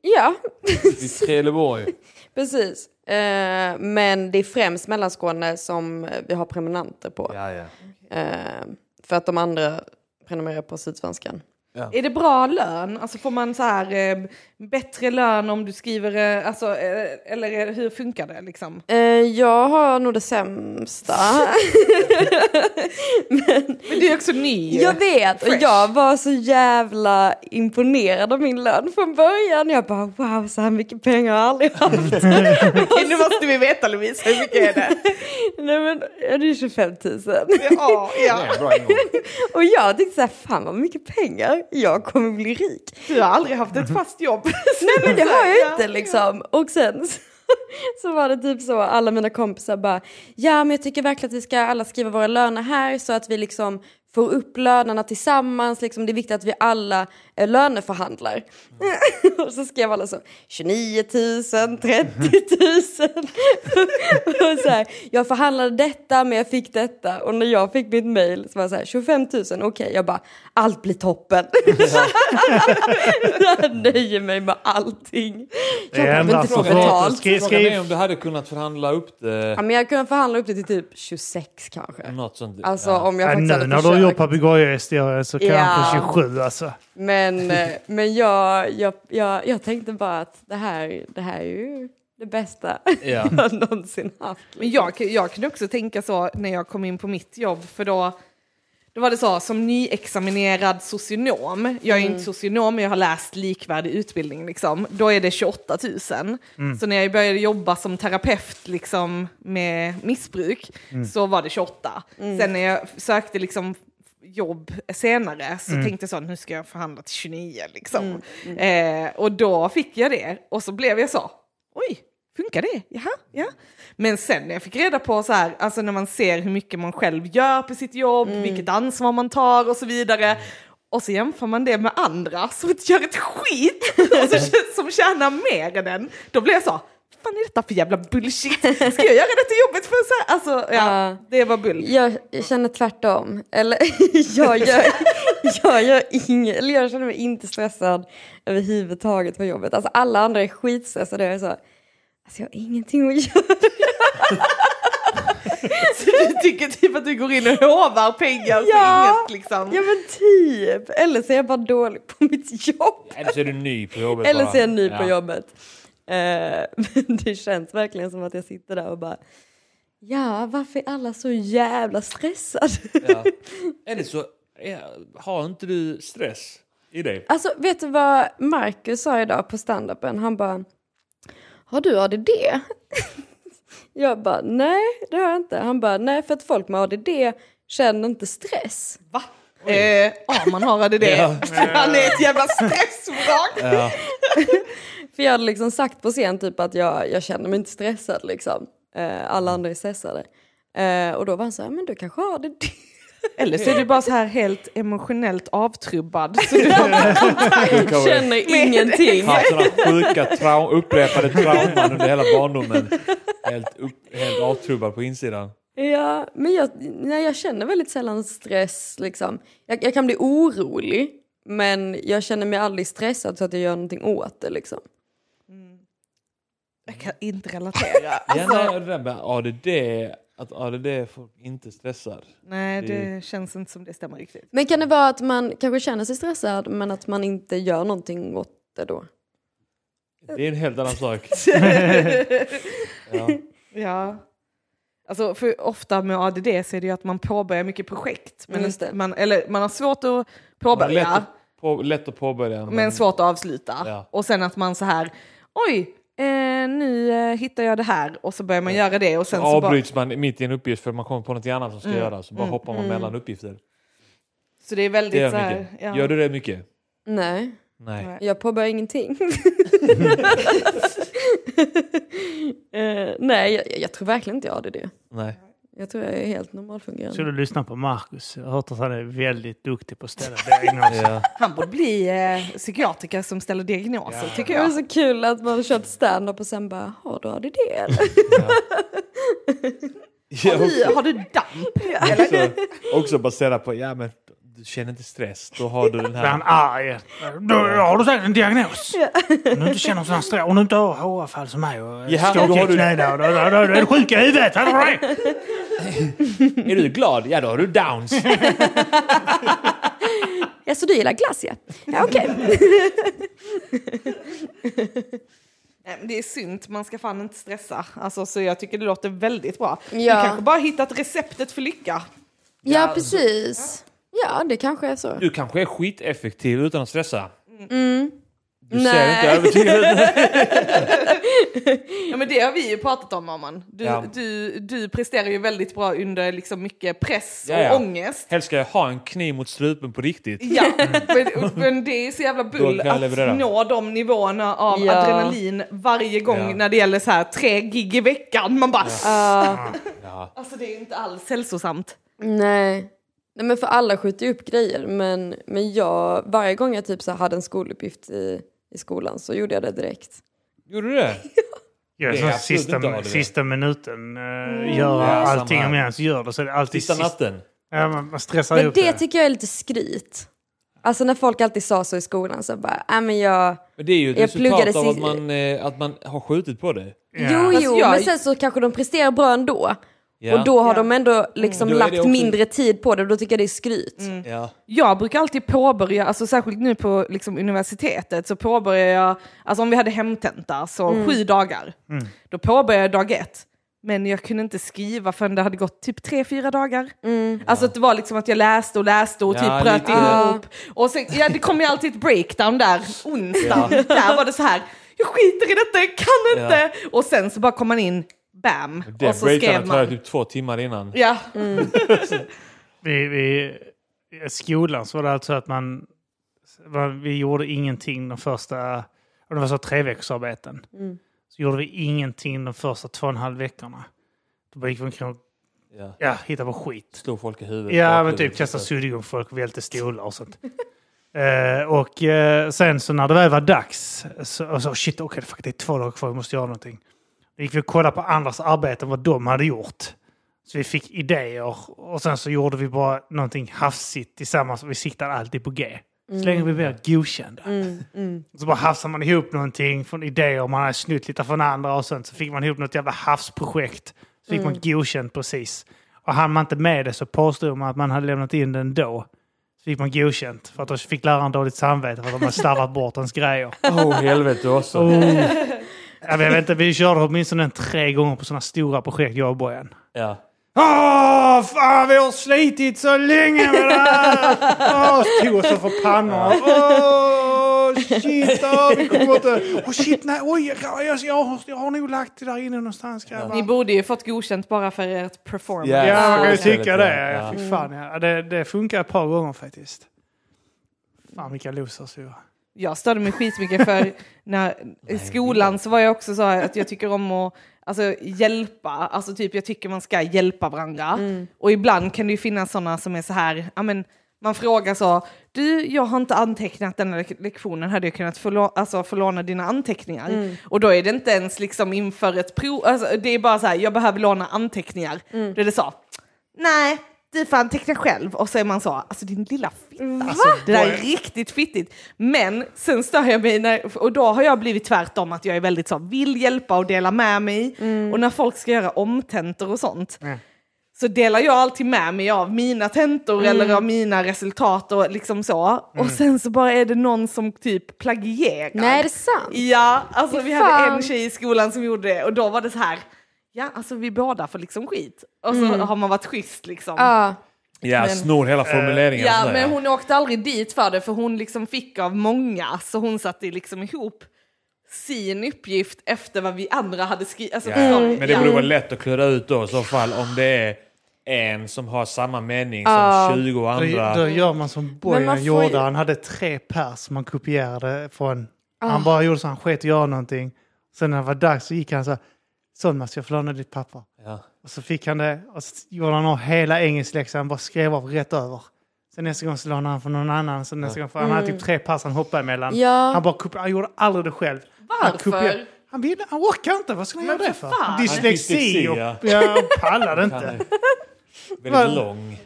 Speaker 4: Ja,
Speaker 3: I Trelleborg.
Speaker 4: precis. Eh, men det är främst Mellanskåne som vi har prenumeranter på.
Speaker 3: Ja, ja.
Speaker 4: Eh, för att de andra prenumererar på Sydsvenskan.
Speaker 1: Är det bra lön? Alltså får man så här, eh, bättre lön om du skriver... Eh, alltså, eh, eller är- hur funkar det? Liksom?
Speaker 4: Eh, jag har nog det sämsta.
Speaker 1: Men du är också ny.
Speaker 4: jag vet, och
Speaker 1: Fresh.
Speaker 4: jag var så jävla imponerad av min lön från början. Jag bara wow, så här mycket pengar har jag aldrig haft.
Speaker 1: Okej, nu måste vi veta Lovisa, hur mycket är det?
Speaker 4: Nej men, ja, det är 25 000.
Speaker 1: Ja,
Speaker 3: Det
Speaker 1: ja.
Speaker 3: är en bra ingång.
Speaker 4: Och jag tänkte så här, fan vad mycket pengar, jag kommer bli rik.
Speaker 1: Du har aldrig haft ett fast jobb.
Speaker 4: Nej men det har jag inte
Speaker 1: Ja,
Speaker 4: liksom. Och sen så, så var det typ så, alla mina kompisar bara, ja men jag tycker verkligen att vi ska alla skriva våra löner här så att vi liksom får upp lönerna tillsammans, liksom, det är viktigt att vi alla eh, löneförhandlar. och så skrev alla så, 29 000, 30 000. och så här, jag förhandlade detta men jag fick detta och när jag fick mitt mail så var det så här, 25 000, okej, jag bara, allt blir toppen. jag nöjer mig med allting.
Speaker 2: Det
Speaker 4: Jag behöver
Speaker 2: ändras
Speaker 4: inte
Speaker 2: så
Speaker 4: få
Speaker 2: fort.
Speaker 4: betalt.
Speaker 2: Skriv,
Speaker 3: Frågan är
Speaker 2: skriv.
Speaker 3: om du hade kunnat förhandla upp
Speaker 4: Ja,
Speaker 3: det.
Speaker 4: men jag kunde förhandla upp det till typ 26 kanske.
Speaker 3: Något sånt.
Speaker 4: Alltså
Speaker 3: Ja.
Speaker 4: om jag
Speaker 2: Ja, Äh,
Speaker 4: faktiskt
Speaker 2: nu
Speaker 4: hade
Speaker 2: när du har gjort
Speaker 4: försökt.
Speaker 2: papegojhistorier eh, så kan
Speaker 4: Ja.
Speaker 2: jag på 27 alltså.
Speaker 4: Men, eh, men jag, jag, jag, jag tänkte bara att det här, det här är ju det bästa
Speaker 3: Ja.
Speaker 4: jag någonsin haft.
Speaker 1: Men jag, jag kunde också tänka så när jag kom in på mitt jobb, för då, då var det så, som nyexaminerad socionom, jag är inte socionom men jag har läst likvärdig utbildning, liksom, då är det 28 000. Så när jag började jobba som terapeut liksom, med missbruk så var det 28. Sen när jag sökte liksom, jobb senare så tänkte jag så nu ska jag förhandla till 29 liksom. Eh, och då fick jag det och så blev jag så, oj, funkar det? Jaha, ja. Men sen när jag fick reda på så här, alltså när man ser hur mycket man själv gör på sitt jobb, vilket ansvar man tar och så vidare. Och så jämför man det med andra som inte gör ett skit, och så, som tjänar mer än en. Då blir jag så, vad fan är detta för jävla bullshit? Ska jag göra detta jobbet för så här? Alltså, ja,
Speaker 4: Ja.
Speaker 1: det var bull.
Speaker 4: Jag känner tvärtom. Eller jag gör, jag gör inget, eller jag känner mig inte stressad överhuvudtaget på jobbet. Alltså alla andra är skitstressade och jag är så, alltså jag har ingenting att göra.
Speaker 1: Så du tycker typ att du går in och hovar pengar för
Speaker 4: Ja.
Speaker 1: inget liksom?
Speaker 4: Ja men typ. Eller så är jag bara dålig på mitt jobb.
Speaker 3: Eller så är du ny på jobbet.
Speaker 4: Eller
Speaker 3: bara.
Speaker 4: så är jag ny på
Speaker 3: Ja.
Speaker 4: jobbet. Eh, men det känns verkligen som att jag sitter där och bara Ja, varför är alla så jävla stressade?
Speaker 3: Ja. Eller så är, har inte du stress i dig.
Speaker 4: Alltså, vet du vad Marcus sa idag på standupen? Han bara Har du ADD? jag bara nej, det har jag inte. Han bara nej, för att folk med ADD känner inte stress.
Speaker 1: Va? Eh, ja, man har det.
Speaker 3: Ja.
Speaker 1: Han är ett jävla stressvrak.
Speaker 3: Ja.
Speaker 4: För jag hade liksom sagt på scen typ att jag, jag känner mig inte stressad liksom. Eh, alla andra är stressade. Eh, och då var han så här, men du kanske har ADD?
Speaker 1: Eller så är du bara så här helt emotionellt avtrubbad. Så du har
Speaker 3: Du kan väl
Speaker 4: känner ingenting.
Speaker 3: haft sådana sjuka trau- upprepade trauman under hela barndomen. Helt, upp, helt avtrubbad på insidan.
Speaker 4: Ja, men jag, nej, jag känner väldigt sällan stress. Liksom. Jag, jag kan bli orolig, men jag känner mig aldrig stressad så att jag gör någonting åt det. Liksom.
Speaker 1: jag kan inte relatera.
Speaker 3: Ja,
Speaker 4: Alltså-
Speaker 3: nej, det där med ADD, att ADD är folk inte stressar.
Speaker 1: Nej, det känns inte som det stämmer riktigt.
Speaker 4: Men kan det vara att man kanske känner sig stressad men att man inte gör någonting åt det då?
Speaker 3: Det är en helt annan sak. Ja.
Speaker 1: Ja. Alltså, för ofta med ADD så är det ju att man påbörjar mycket projekt. Men
Speaker 4: Just det.
Speaker 1: man, eller man har svårt att
Speaker 3: Man är
Speaker 1: påbörja.
Speaker 3: lätt, att, på, lätt att påbörja.
Speaker 1: men svårt att avsluta.
Speaker 3: Ja.
Speaker 1: Och sen att man så här, oj, eh, nu eh, hittar jag det här och så börjar man göra det och sen så bara,
Speaker 4: Mm.
Speaker 3: avbryts man mitt i en uppgift för att man kommer på något annat som ska göras. Så bara hoppar man mellan uppgifter.
Speaker 1: Så det är väldigt
Speaker 3: Det gör,
Speaker 1: så här,
Speaker 3: mycket.
Speaker 1: ja.
Speaker 3: gör du det mycket?
Speaker 4: Nej,
Speaker 3: Nej.
Speaker 1: Nej.
Speaker 4: jag påbörjar ingenting. Eh, nej, jag, jag tror verkligen inte jag hade det.
Speaker 3: Nej.
Speaker 4: Jag tror jag är helt
Speaker 2: Så
Speaker 4: normalfungerande.
Speaker 2: du lyssnar på Marcus. Jag har hört att han är väldigt duktig på att ställa diagnoser.
Speaker 3: Ja.
Speaker 1: Han borde bli eh, psykiatriker som ställer diagnoser tycker
Speaker 4: Det var
Speaker 1: jag.
Speaker 4: så kul att man har kört stand-up och sen bara, har du ADD eller?
Speaker 1: Har du, har du damp?
Speaker 3: också, också baserat på, ja men du känner inte stress, då har du den
Speaker 2: Blir han
Speaker 3: här.
Speaker 2: arg? Då har du säkert en diagnos. Om du inte känner sån här stress, om du inte har håravfall som mig och
Speaker 3: Ja,
Speaker 2: skakig
Speaker 3: då har
Speaker 2: i
Speaker 3: du-
Speaker 2: knäna, och då, då, då, då är du sjuk i huvudet. Hör du det?
Speaker 3: Är du glad? Ja då har du downs.
Speaker 4: Ja, så du gillar glass ja? Ja okej.
Speaker 1: Nej, men Det är synd, man ska fan inte stressa. Alltså, så jag tycker det låter väldigt bra.
Speaker 4: Ja.
Speaker 1: Du kanske bara har hittat receptet för lycka.
Speaker 4: Ja precis. Ja det kanske är så. Mm.
Speaker 3: Du kanske är skiteffektiv utan att stressa. Du ser
Speaker 4: Nej.
Speaker 3: inte övertygad ut.
Speaker 1: Ja, men det har vi ju pratat om Arman. Du,
Speaker 3: Ja.
Speaker 1: du, du presterar ju väldigt bra under liksom mycket press och
Speaker 3: Ja, ja.
Speaker 1: ångest.
Speaker 3: Helst ska jag ha en kniv mot strupen på riktigt.
Speaker 1: Ja, men, men det är så jävla bull
Speaker 3: Mm. kan jag leverera.
Speaker 1: att nå de nivåerna av
Speaker 4: Ja.
Speaker 1: adrenalin varje gång
Speaker 3: Ja.
Speaker 1: när det gäller så här tre gig i veckan. Man bara,
Speaker 4: Ja,
Speaker 3: Ja.
Speaker 1: alltså det är ju inte alls hälsosamt.
Speaker 4: nej. nej men för alla skjuter ju upp grejer men, men jag, varje gång jag typ så här hade en skoluppgift i, i skolan så gjorde jag det direkt.
Speaker 3: Gjorde du det?
Speaker 2: Gör
Speaker 3: Det
Speaker 2: det
Speaker 3: är
Speaker 2: så här
Speaker 3: absolut inte
Speaker 2: sista,
Speaker 3: ADD.
Speaker 2: sista minuten. Uh, gör
Speaker 3: Ja,
Speaker 2: allting
Speaker 3: samma.
Speaker 2: om jag ens gör det så är det alltid
Speaker 3: Sista
Speaker 2: sist.
Speaker 3: natten?
Speaker 2: Ja, man, man stressar
Speaker 4: Men
Speaker 2: ihop
Speaker 4: det
Speaker 2: det.
Speaker 4: tycker jag är lite skryt. Alltså när folk alltid sa så i skolan så bara, nej men jag,
Speaker 3: Men det är ju ett
Speaker 4: Jag
Speaker 3: resultat
Speaker 4: pluggade
Speaker 3: av
Speaker 4: si-
Speaker 3: att man, eh, att man har skjutit på det.
Speaker 2: Ja.
Speaker 4: jo
Speaker 1: Fast
Speaker 4: jo
Speaker 1: jag-
Speaker 4: men sen så kanske de presterar bra ändå.
Speaker 3: Ja. Mm.
Speaker 4: Och då har
Speaker 1: Ja.
Speaker 4: de ändå liksom
Speaker 3: Då är det
Speaker 4: lagt
Speaker 3: också- Mm.
Speaker 4: mindre tid på det och då tycker jag det är skryt.
Speaker 3: Ja.
Speaker 1: Jag brukar alltid påbörja, alltså särskilt nu på liksom, universitetet, så påbörjar jag, alltså om vi hade hemtenta, så
Speaker 2: Mm.
Speaker 1: sju dagar,
Speaker 3: Mm.
Speaker 1: då påbörjade jag dag ett. Men jag kunde inte skriva förrän det hade gått typ tre, fyra dagar.
Speaker 2: Mm.
Speaker 1: Alltså att det var liksom att jag läste och läste och
Speaker 3: Ja,
Speaker 1: typ bröt
Speaker 3: lite.
Speaker 1: ihop. Och sen, ja, det kom ju alltid ett breakdown där, onsdagen. Där var det så här, jag skiter i detta, jag kan inte. Och sen så bara kom man in, bam,
Speaker 3: Det
Speaker 1: och så skrev
Speaker 3: breakdownet tar jag
Speaker 1: man.
Speaker 3: typ två timmar innan.
Speaker 1: Ja,
Speaker 2: Vi, vi, I skolan så var det alltså att man, man vi gjorde ingenting de första, och det var så tre veckorsarbeten. Så gjorde vi ingenting de första två och en halv veckorna. Då gick vi omkring och
Speaker 3: Ja.
Speaker 2: ja, hittade på skit.
Speaker 3: Slog folk i huvudet.
Speaker 2: Ja, men
Speaker 3: bakhuvudet.
Speaker 2: typ kasta suddgum på folk och välte stolar och sånt. Eh, och eh, sen så när det väl var dags så, och så shit, okej, fuck, det är två dagar kvar, vi måste göra någonting. Då gick vi och kollade på andras arbeten, vad de hade gjort. Så vi fick idéer och sen så gjorde vi bara någonting hafsigt tillsammans och vi siktade alltid på G. Så länge vi blev godkända. Så bara hafsade man ihop någonting från idéer, man hade snutt lite från andra och sånt. Så fick man ihop något jävla havsprojekt. Så fick man godkänt precis. Och hann man inte med det så påstod man att man hade lämnat in den då. Så fick man godkänt. För att då fick läraren dåligt samvete för att de hade slarvat bort ens grejer.
Speaker 3: Åh helvete också.
Speaker 2: Jag vet inte, vi körde åtminstone en tre gånger på sådana stora projekt, jag och Bojan.
Speaker 3: Ja.
Speaker 2: Åh, fan vi har slitit så länge med det här! Åh, tog oss för pannorna. Åh, shit, åh, vi kommer inte... Åh, shit, nej, oj, jag, jag, jag, har- jag har nog lagt det där inne någonstans grabbar.
Speaker 1: ni borde ju fått godkänt bara för ert performance.
Speaker 3: Ja.
Speaker 2: Ja, man kan ju
Speaker 3: Ja.
Speaker 2: tycka det.
Speaker 3: Ja.
Speaker 2: Fy fan, ja. det, det funkar ett par gånger faktiskt. Fan vilka losers vi var.
Speaker 1: jag störde mig skitmycket för när, i skolan så var jag också så här att jag tycker om att alltså, hjälpa, alltså typ jag tycker man ska hjälpa varandra. Och ibland kan det ju finnas sådana som är så här, ja men man frågar så, du jag har inte antecknat den här lek- lektionen, hade jag kunnat få, lå- alltså, få låna dina anteckningar? Och då är det inte ens liksom inför ett prov, alltså, det är bara så här, jag behöver låna anteckningar. Då är det så, nej du får anteckna själv. Och så är man så, alltså din lilla fitta. Alltså, det där är riktigt fittigt. Men sen stör jag mig, när, och då har jag blivit tvärtom att jag är väldigt så, vill hjälpa och dela med mig.
Speaker 4: Mm.
Speaker 1: Och när folk ska göra omtentor och sånt så delar jag alltid med mig av mina tentor
Speaker 4: Mm.
Speaker 1: eller av mina resultat och liksom så. Och sen så bara är det någon som typ plagierar.
Speaker 4: Nej är det sant?
Speaker 1: Ja, alltså vi hade
Speaker 4: Fan.
Speaker 1: en tjej i skolan som gjorde det och då var det så här, ja alltså vi båda får liksom skit. Och så har man varit schysst liksom.
Speaker 4: Mm. Ja.
Speaker 3: Ja, snor hela formuleringen. och
Speaker 1: Ja,
Speaker 3: sådär,
Speaker 1: men hon åkte aldrig dit för det för hon liksom fick av många så hon satte liksom ihop sin uppgift efter vad vi andra hade skrivit. Alltså,
Speaker 3: ja.
Speaker 1: förstår du?
Speaker 3: Men det borde vara lätt att klura ut då i så fall om det är en som har samma mening som
Speaker 4: Ja.
Speaker 3: 20 andra.
Speaker 2: Då, då gör man som
Speaker 4: Men man
Speaker 2: Bojan
Speaker 4: får
Speaker 2: gjorde.
Speaker 4: ju-
Speaker 2: Han hade tre pers man kopierade från.
Speaker 4: Ah.
Speaker 2: Han bara gjorde så han sket i att göra någonting. Sen när det var dags så gick han så här. Son Mats, jag får låna ditt papper.
Speaker 3: Ja.
Speaker 2: Och så fick han det och så gjorde han av hela engelskläxan. Han bara skrev av rätt över. Sen nästa gång så lånade han från någon annan. Sen nästa gång, för han hade typ tre pass han hoppade emellan.
Speaker 4: Ja.
Speaker 2: Han, bara, kopi- han gjorde aldrig det själv. Han,
Speaker 1: Varför?
Speaker 2: kopierade- han, ville, han orkade inte. Vad ska han göra det för?
Speaker 1: fan.
Speaker 2: Dyslexi
Speaker 3: Dyslexi,
Speaker 2: och,
Speaker 3: ja.
Speaker 2: ja, och pallade
Speaker 3: Han
Speaker 2: inte.
Speaker 3: är väldigt
Speaker 2: Vad-
Speaker 3: lång.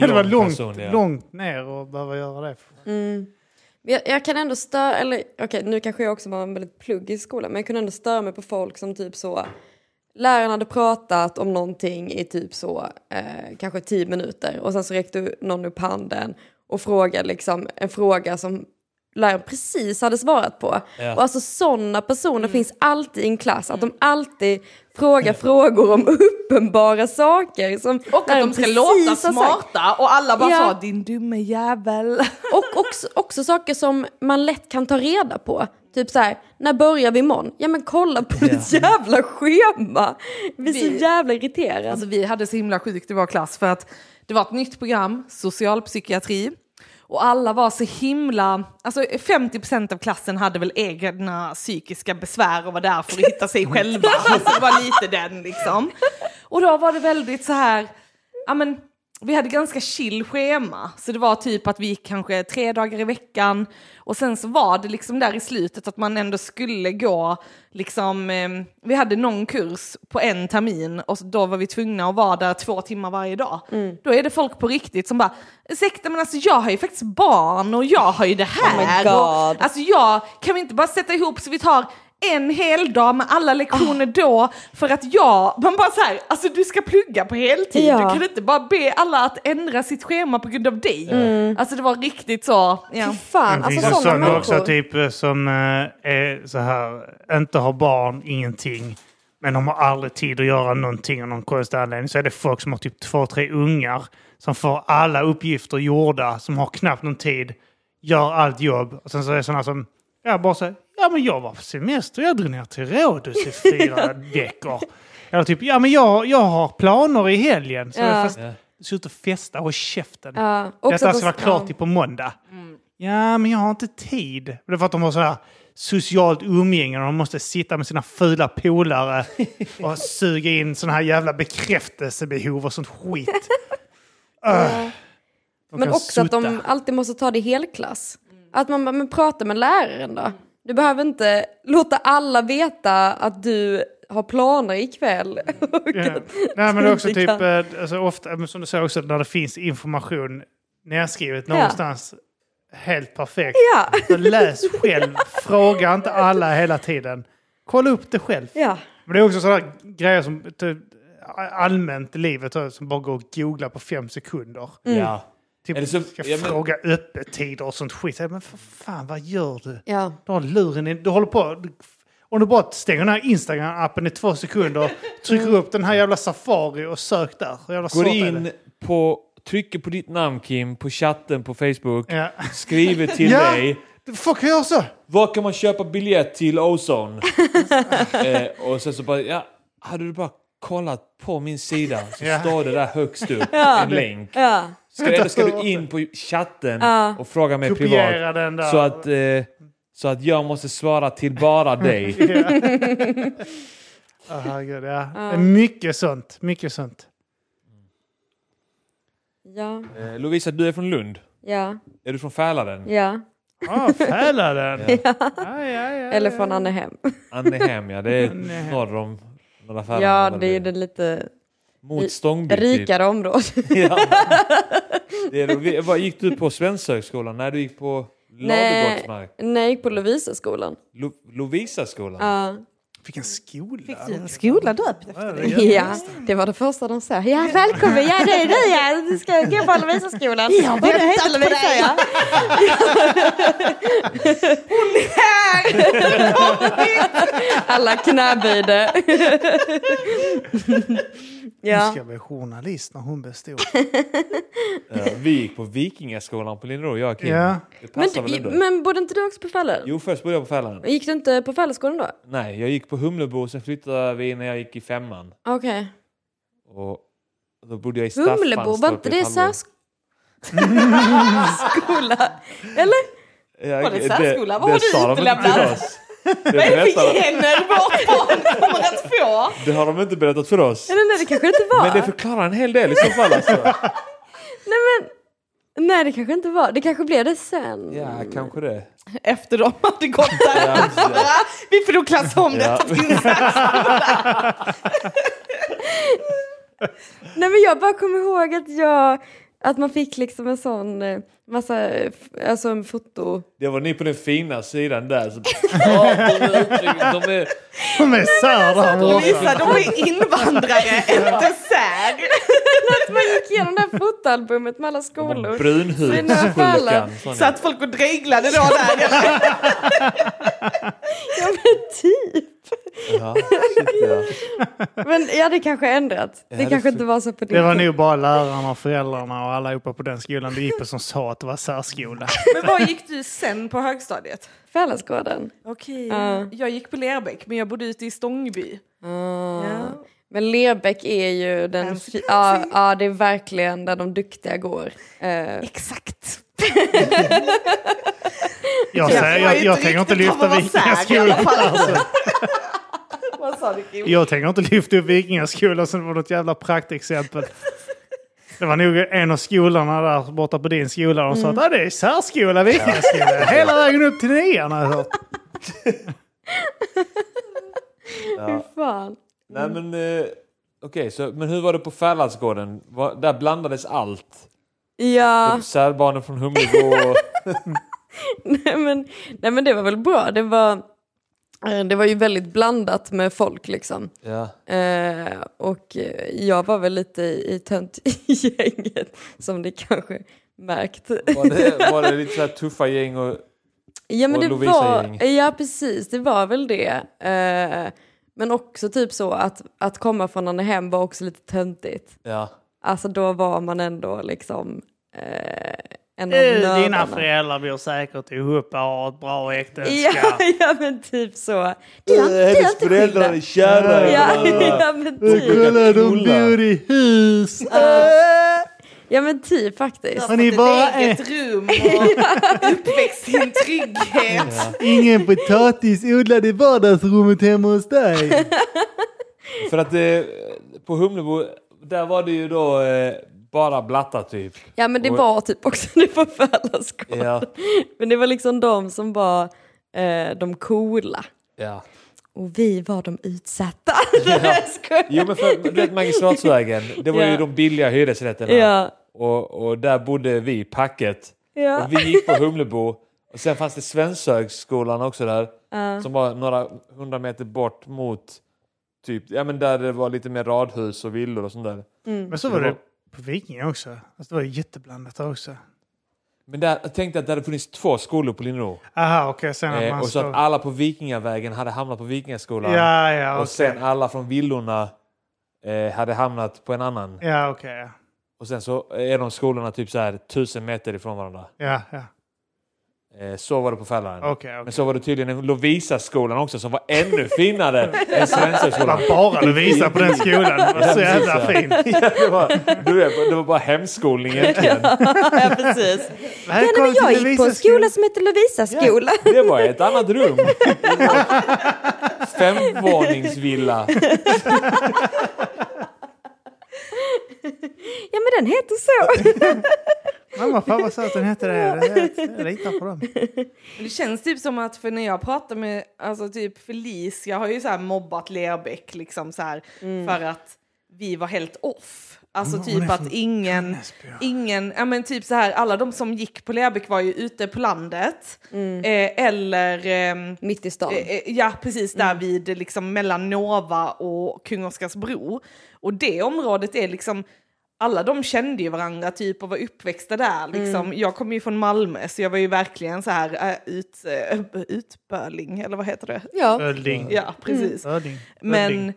Speaker 2: Det var långt,
Speaker 3: person, ja.
Speaker 2: långt ner och behöva göra det.
Speaker 4: Men Jag, jag kan ändå störa, eller okej nu kanske jag också var en väldigt plugg i skolan men jag kunde ändå störa mig på folk som typ så Läraren hade pratat om någonting i typ så eh, kanske tio minuter och sen så räckte någon upp handen och frågade liksom en fråga som läraren precis hade svarat på.
Speaker 3: Ja.
Speaker 4: Och alltså sådana personer
Speaker 1: Mm.
Speaker 4: finns alltid i en klass, att de alltid frågar frågor om uppenbara saker. Som
Speaker 1: Och att de ska låta smarta och alla bara
Speaker 4: Ja.
Speaker 1: sa din dumme jävel.
Speaker 4: Och också, också saker som man lätt kan ta reda på. Typ så här, när börjar vi imorgon? Ja men kolla på ditt jävla schema! Vi är
Speaker 1: Vi-
Speaker 4: så jävla irriterade.
Speaker 1: Alltså vi hade så himla sjukt i vår klass för att det var ett nytt program, socialpsykiatri. Och alla var så himla, alltså 50% av klassen hade väl egna psykiska besvär och var där för att hitta sig själva. Alltså det var lite den liksom. Och då var det väldigt så här, ja men vi hade ganska chill schema. Så det var typ att vi gick kanske tre dagar i veckan. Och sen så var det liksom där i slutet att man ändå skulle gå, liksom, eh, vi hade någon kurs på en termin och så- då var vi tvungna att vara där två timmar varje dag.
Speaker 4: Mm.
Speaker 1: Då är det folk på riktigt som bara, ursäkta men alltså jag har ju faktiskt barn och jag har ju det här.
Speaker 4: Oh my
Speaker 1: och,
Speaker 4: God.
Speaker 1: Alltså jag, kan vi inte bara sätta ihop så vi tar en hel dag med alla lektioner
Speaker 4: Ah.
Speaker 1: då för att jag, man bara så här, alltså du ska plugga på heltid,
Speaker 4: Ja.
Speaker 1: du kan inte bara be alla att ändra sitt schema på grund av dig. Alltså det var riktigt så, ja.
Speaker 4: Fan,
Speaker 2: det
Speaker 4: alltså
Speaker 2: finns ju
Speaker 4: sådana
Speaker 2: sådana också
Speaker 4: människor.
Speaker 2: typ eh, som eh, är så här, inte har barn, ingenting. Men de har aldrig tid att göra någonting av någon konstig anledning. Så är det folk som har typ två, tre ungar som får alla uppgifter gjorda, som har knappt någon tid, gör allt jobb. Och sen så är det sådana som, ja bara så här, ja men jag var på semester, jag drog ner till Rhodos i fyra veckor. Eller typ, ja men jag, jag har planer i helgen. Så
Speaker 4: Ja.
Speaker 2: fast, du ska ut och festa, håll käften.
Speaker 4: Ja, också
Speaker 2: Detta
Speaker 4: att de-
Speaker 2: ska vara klart
Speaker 4: ja. Mm.
Speaker 2: till på måndag. Ja, men jag har inte tid. Det är för att de har sådär socialt umgänge och de måste sitta med sina fula polare och suga in sådana här jävla bekräftelsebehov och sånt skit. Öh. De
Speaker 4: Men
Speaker 2: kan
Speaker 4: också att de
Speaker 2: sutta.
Speaker 4: alltid måste ta det i helklass. Att man bara, men prata med läraren då. Du behöver inte låta alla veta att du har planer ikväll.
Speaker 2: Ja. Nej, men det är också
Speaker 4: inte
Speaker 2: typ,
Speaker 4: kan.
Speaker 2: eh, alltså, ofta, men som du sa också, när det finns information nedskrivet
Speaker 4: Ja.
Speaker 2: någonstans helt perfekt.
Speaker 4: ja.
Speaker 2: Så läs själv, fråga inte alla hela tiden. Kolla upp det själv.
Speaker 4: ja.
Speaker 2: Men det är också sådana grejer som typ, allmänt i livet så, som bara går att googla på fem sekunder.
Speaker 3: Ja.
Speaker 2: Typ
Speaker 3: Eller så-
Speaker 2: ska
Speaker 3: ja, men-
Speaker 2: fråga öppettider och sånt skit. Så, Men för fan, vad gör du?
Speaker 4: ja.
Speaker 2: Du har luren i, du håller på... Du, om du bara stänger den här Instagram-appen i två sekunder, trycker upp den här jävla Safari och sök där. Hur jävla svårt
Speaker 3: Går
Speaker 2: är
Speaker 3: in
Speaker 2: det?
Speaker 3: på, trycker på ditt namn Kim, på chatten på Facebook,
Speaker 2: Ja.
Speaker 3: skriver till
Speaker 2: Ja.
Speaker 3: dig.
Speaker 2: Folk gör så!
Speaker 3: Var kan man köpa biljett till Ozone? eh, och sen så bara, ja, hade du bara kollat på min sida så
Speaker 2: Ja.
Speaker 3: står det där högst upp, en länk.
Speaker 4: ja.
Speaker 3: Ska, eller ska du in på chatten och fråga mig
Speaker 2: Kopiera
Speaker 3: privat?
Speaker 2: den där.
Speaker 3: Så att, eh, så att jag måste svara till bara dig.
Speaker 2: Ah, herregud, ja. Det är Mycket sånt. Mycket sånt.
Speaker 4: Ja.
Speaker 3: Eh, Lovisa, du är från Lund.
Speaker 4: Ja.
Speaker 3: Är du från Fälaren?
Speaker 4: Ja.
Speaker 2: Ah, Fälaren! ja. Ja, ja, ja,
Speaker 4: Eller från Annehem.
Speaker 3: Annehem, ja. Det är norr om norra Fälaren.
Speaker 4: Ja, det är ju det lite
Speaker 3: Mot Stångby. typ.
Speaker 4: rikare området.
Speaker 3: Ja. Det är roligt. Vad gick du på Svenshögskolan? Nej, du gick på
Speaker 4: Nej,
Speaker 3: Ladugårdsmark.
Speaker 4: nej, jag gick på Lovisaskolan.
Speaker 3: Lo- Lovisaskolan?
Speaker 4: Ja.
Speaker 2: Vilken skola!
Speaker 1: Skola döpt efter dig.
Speaker 4: ja, det var det första de sa. Ja, välkommen, ja det är du ja, du ska gå på Lovisaskolan. Ja, vad du heter Lovisa ja. Alla knäböjde.
Speaker 2: Nu
Speaker 4: ja.
Speaker 2: ska jag bli journalist när hon bestod.
Speaker 3: Ja, vi gick på Vikingaskolan på Linderå, jag och Kim.
Speaker 2: Ja.
Speaker 3: Det
Speaker 4: Men,
Speaker 3: passar väl
Speaker 4: du-
Speaker 3: ändå?
Speaker 4: men bodde inte du också på Fällen?
Speaker 3: Jo, först började jag på Fälaren.
Speaker 4: Gick du inte på Fälleskolan då?
Speaker 3: Nej, jag gick på Humlebo och sen flyttade vi när jag gick i femman.
Speaker 4: Okej.
Speaker 3: Och Då bodde jag i Staffanstorp
Speaker 4: Humlebo, var
Speaker 3: i
Speaker 4: inte
Speaker 3: ett
Speaker 4: det
Speaker 3: halvår.
Speaker 4: särskola? Eller?
Speaker 3: Ja,
Speaker 1: Var det särskola? Vad har du
Speaker 3: sa de inte
Speaker 1: utelämnat?
Speaker 3: till oss. Det,
Speaker 1: Vad är det för
Speaker 3: berättade,
Speaker 1: gener vårt barn kommer att få?
Speaker 3: det har de inte berättat för oss.
Speaker 4: Eller nej, det kanske inte var.
Speaker 3: Men det förklarar en hel del i så fall alltså.
Speaker 4: Nej, men... Nej, det kanske inte var. Det kanske blev det sen.
Speaker 3: Ja, kanske det.
Speaker 1: Efter de hade gått där. Vi får nog klassa om
Speaker 3: Ja.
Speaker 1: detta till
Speaker 4: Nej, men jag bara kommer ihåg att jag... Att man fick liksom en sån eh, massa, eh, f- alltså en foto...
Speaker 3: Det var ni på den fina sidan där. Så, Ja, de är uttryck- de är,
Speaker 2: De är sär där borta.
Speaker 1: Lisa, de är invandrare, inte sär.
Speaker 4: Att man gick igenom det här fotoalbumet med alla skolor.
Speaker 3: Brunhudsjukan. sån
Speaker 1: Så att folk och dreglade då där.
Speaker 4: Ja, men typ.
Speaker 3: Ja, shit, ja.
Speaker 4: Men ja, det kanske har ändrats. Det
Speaker 3: det
Speaker 4: kanske
Speaker 3: är
Speaker 4: inte var så på din
Speaker 2: Det var
Speaker 4: tid.
Speaker 2: nog bara lärarna och föräldrarna och alla uppe på den skolan du gick på som sa att det var särskola.
Speaker 1: Men var gick du sen på högstadiet?
Speaker 4: Fällesgården.
Speaker 1: Okej,
Speaker 4: Ja.
Speaker 1: jag gick på Lerbäck men jag bodde ute i Stångby. Ja.
Speaker 4: Men Lerbäck är ju den...
Speaker 1: Fancy,
Speaker 4: fi- Ja, ja, det är verkligen där de duktiga går. Eh,
Speaker 1: Exakt.
Speaker 2: Jag, säger,
Speaker 1: var ju
Speaker 2: jag,
Speaker 1: typ
Speaker 2: jag tänker inte
Speaker 1: riktigt
Speaker 2: lyfta
Speaker 1: vad man säger i alla
Speaker 2: vikingaskolan.
Speaker 1: fall.
Speaker 2: Alltså.
Speaker 1: Vad sa du Kim?
Speaker 2: Jag tänker inte lyfta upp vikingaskolan som var något jävla praktexempel. Det var nog en av skolorna där borta på din skola. De sa
Speaker 1: Mm.
Speaker 2: att "Ah, det är särskola, vikingaskola. Hela vägen upp till nian har jag hört.
Speaker 4: Hur fan?
Speaker 3: Nej men... Eh, Okej, så men hur var det på Fälladsgården? Var- Där blandades allt.
Speaker 4: Ja,
Speaker 3: Typ Särbarnen från Humlebo och...
Speaker 4: nej men, nej men det var väl bra. Det var, eh, det var ju väldigt blandat med folk liksom.
Speaker 3: Ja.
Speaker 4: Eh, och eh, jag var väl lite i, i töntgänget som ni kanske märkt.
Speaker 3: Var det, var det lite så här tuffa gäng och...
Speaker 4: Ja men
Speaker 3: Och
Speaker 4: det
Speaker 3: Lovisa-gäng.
Speaker 4: var, ja precis, det var väl det. Eh, men också typ så att, att komma från Annehem var också lite töntigt.
Speaker 3: Ja.
Speaker 4: Alltså då var man ändå liksom eh, en av
Speaker 2: "Eh, Dina
Speaker 4: nördarna.
Speaker 2: föräldrar bor säkert ihop och har ett bra
Speaker 4: Ja,
Speaker 2: äktenskap.
Speaker 4: ja men typ så. Du har- du har inte skillnad.
Speaker 3: kära.
Speaker 4: Ja, ja men typ.
Speaker 2: Kolla, de
Speaker 3: Kolla.
Speaker 2: bor i hus.
Speaker 4: Ja men typ faktiskt.
Speaker 1: Har
Speaker 2: ni
Speaker 1: ni bara
Speaker 2: bara
Speaker 1: eget rum och uppväxt i en trygghet.
Speaker 2: Ingen potatis odlad i vardagsrummet hemma hos dig.
Speaker 3: För att eh, på Humlebo, där var det ju då eh, bara blattar typ.
Speaker 4: Ja men det
Speaker 3: Och-
Speaker 4: var typ också det på Fällaskål.
Speaker 3: Ja.
Speaker 4: Men det var liksom de som var eh, de coola.
Speaker 3: ja.
Speaker 4: Och vi var de utsatta. Nej, skojar.
Speaker 3: Jo men för, du vet Magistratsvägen, det var
Speaker 4: Ja.
Speaker 3: ju de billiga hyresrätterna.
Speaker 4: Ja.
Speaker 3: Och, och där bodde vi i packet.
Speaker 4: Ja.
Speaker 3: Och vi gick på Humlebo. Och sen fanns det Svenshögsskolan också där. Som var några hundra meter bort mot typ, ja men där det var lite mer radhus och villor och sånt där.
Speaker 2: Men så var det på Vikinga också. Alltså, det var ju jätteblandat där också.
Speaker 3: Men där, jag tänkte att det hade funnits två skolor på Linnero.
Speaker 2: Aha, okej. sen att
Speaker 3: Eh,
Speaker 2: man
Speaker 3: och så
Speaker 2: står...
Speaker 3: att alla på Vikingavägen hade hamnat på Vikingaskolan.
Speaker 2: alltså- Ja, ja, okej.
Speaker 3: Och sen alla från villorna eh, hade hamnat på en annan.
Speaker 2: Ja, okej. ja.
Speaker 3: Och sen så är de skolorna typ så här tusen meter ifrån varandra.
Speaker 2: ja, ja.
Speaker 3: Eh, så var det på Fällaren.
Speaker 2: Okej, okej.
Speaker 3: Men så var det tydligen Lovisa-skolan också som var ännu finare än Svenshögskolan.
Speaker 2: Vad bara du visar på den skolan. Det var så
Speaker 3: Ja, precis,
Speaker 2: jävla
Speaker 3: ja.
Speaker 2: fin.
Speaker 3: Ja, det, var, du vet, det var bara hemskolning egentligen.
Speaker 1: Ja, precis.
Speaker 4: Ja, nej, men
Speaker 2: Välkommen
Speaker 4: jag
Speaker 2: till
Speaker 4: gick på en
Speaker 2: Lovisas
Speaker 4: skola som heter Lovisa-skolan.
Speaker 3: Det var ett annat rum. Femvåningsvilla.
Speaker 4: Ja men den heter så.
Speaker 2: Mamma, pappa sa att den hette det. Jag litar på dem.
Speaker 1: Men det känns typ som att för när jag pratar med alltså typ Felicia har ju så här mobbat Lerbäck liksom så här för att vi var helt off. Alltså
Speaker 2: Hon- hon
Speaker 1: typ
Speaker 2: är
Speaker 1: att
Speaker 2: från
Speaker 1: ingen,
Speaker 2: Väsby.
Speaker 1: ingen, ja men typ så här alla de som gick på Lerbäck var ju ute på landet eh, eller ehm,
Speaker 4: Mitt i stan.
Speaker 1: Eh, eh, Ja, precis
Speaker 3: Mm.
Speaker 1: där vid eh, liksom mellan Nova och Kung Oscars bro. Och det området är liksom, alla de kände ju varandra typ och var uppväxta där.
Speaker 3: Mm.
Speaker 1: Liksom. Jag kommer ju från Malmö så jag var ju verkligen så här eh, ut, eh, utböling, eller vad heter det?
Speaker 4: Ja.
Speaker 2: Ölding.
Speaker 3: Mm.
Speaker 1: Ja, precis.
Speaker 2: Ölding.
Speaker 1: Men,
Speaker 2: Ölding.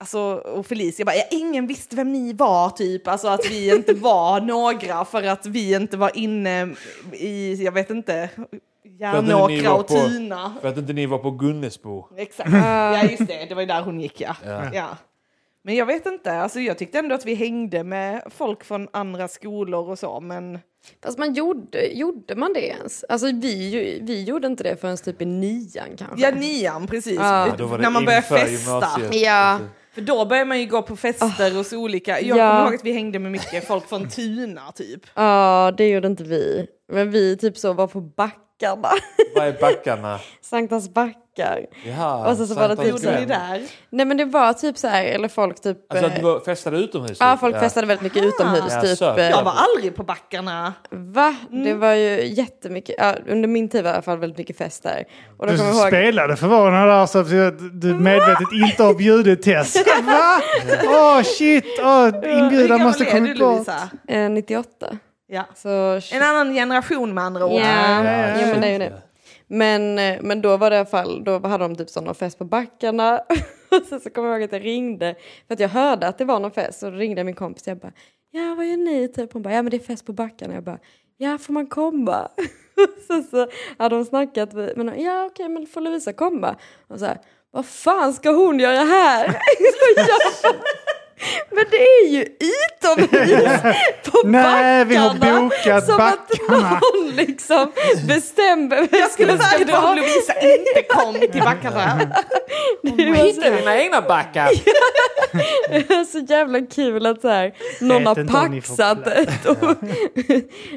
Speaker 1: alltså, och Felicia bara, ja, ingen visste vem ni var typ, alltså att vi inte var några för att vi inte var inne i, jag vet inte,
Speaker 3: att ni
Speaker 1: Järnåkra
Speaker 3: var
Speaker 1: och
Speaker 3: på-
Speaker 1: Tuna.
Speaker 3: För att inte ni var på Gunnesbo.
Speaker 1: Exakt, ja just det, det var ju där hon gick ja. ja. Men jag vet inte, alltså jag tyckte ändå att vi hängde med folk från andra skolor och så, men
Speaker 4: Fast man gjorde, gjorde man det ens? Alltså vi, ju- vi gjorde inte det förrän typ i nian kanske.
Speaker 1: ja nian precis,
Speaker 4: Ja.
Speaker 3: Ja, då var det
Speaker 1: när man börjar
Speaker 3: inför
Speaker 1: festa.
Speaker 3: gymnasiet.
Speaker 4: Ja.
Speaker 1: För då börjar man ju gå på fester och så olika, jag
Speaker 4: Ja.
Speaker 1: kommer ihåg att vi hängde med mycket folk från Tuna typ.
Speaker 4: Ja, det gjorde inte vi. Men vi typ så var på backarna.
Speaker 3: Vad är backarna?
Speaker 4: Sanktas backar.
Speaker 3: Ja,
Speaker 4: Och så- så var det
Speaker 3: Sankt
Speaker 4: typ
Speaker 3: Hans
Speaker 1: Gjorde ni
Speaker 3: kväll.
Speaker 1: där?
Speaker 4: Nej men det var typ så här, eller folk typ...
Speaker 3: Alltså att du
Speaker 4: eh,
Speaker 3: var- festade utomhus?
Speaker 4: Ja,
Speaker 3: typ.
Speaker 4: folk festade väldigt mycket utomhus.
Speaker 3: Ja,
Speaker 4: typ,
Speaker 3: söp.
Speaker 4: eh,
Speaker 1: Jag var aldrig på backarna.
Speaker 4: Va? Det var ju jättemycket, ja, under min tid var det i alla fall väldigt mycket fest där. Och då
Speaker 2: Du
Speaker 4: kommer jag ihåg,
Speaker 2: spelade förvånad där så att du medvetet inte har bjudit test. Va? Åh shit, oh,
Speaker 1: Hur
Speaker 2: inbjudan
Speaker 1: gammal
Speaker 2: måste
Speaker 1: är
Speaker 2: kommit
Speaker 1: du
Speaker 2: bort.
Speaker 1: Lovisa?
Speaker 4: eh, 98.
Speaker 1: Ja.
Speaker 4: Så...
Speaker 1: En annan generation med andra ord.
Speaker 4: Ja,
Speaker 2: ja,
Speaker 4: ja,
Speaker 2: ja.
Speaker 4: men det är ju det. Men, eh, men då var det i alla fall, då hade de typ sån någon fest på backarna. Och Sen så kommer jag ihåg att jag ringde, för att jag hörde att det var någon fest. Så då ringde jag min kompis och jag bara, ja vad gör ni? Typ. Hon bara, ja men det är fest på backarna. Jag bara, ja får man komma? Och Sen så hade de snackat, med- men ja okej men får Lovisa komma? Och så här, vad fan ska hon göra här? Så jag bara, men det är ju utomhus på
Speaker 2: Nej, vi har
Speaker 4: backarna."
Speaker 2: bokat
Speaker 4: Som att
Speaker 2: backarna.
Speaker 4: någon liksom bestämmer vem
Speaker 1: Jag skulle
Speaker 4: som
Speaker 1: säga
Speaker 4: ska
Speaker 1: det om
Speaker 4: vara.
Speaker 1: Lovisa inte kom till backarna.
Speaker 4: Det var så,
Speaker 3: dina egna backar!
Speaker 4: det var så jävla kul att så här, någon
Speaker 2: Vet
Speaker 4: har
Speaker 2: inte om ni får
Speaker 4: paxat ett, och,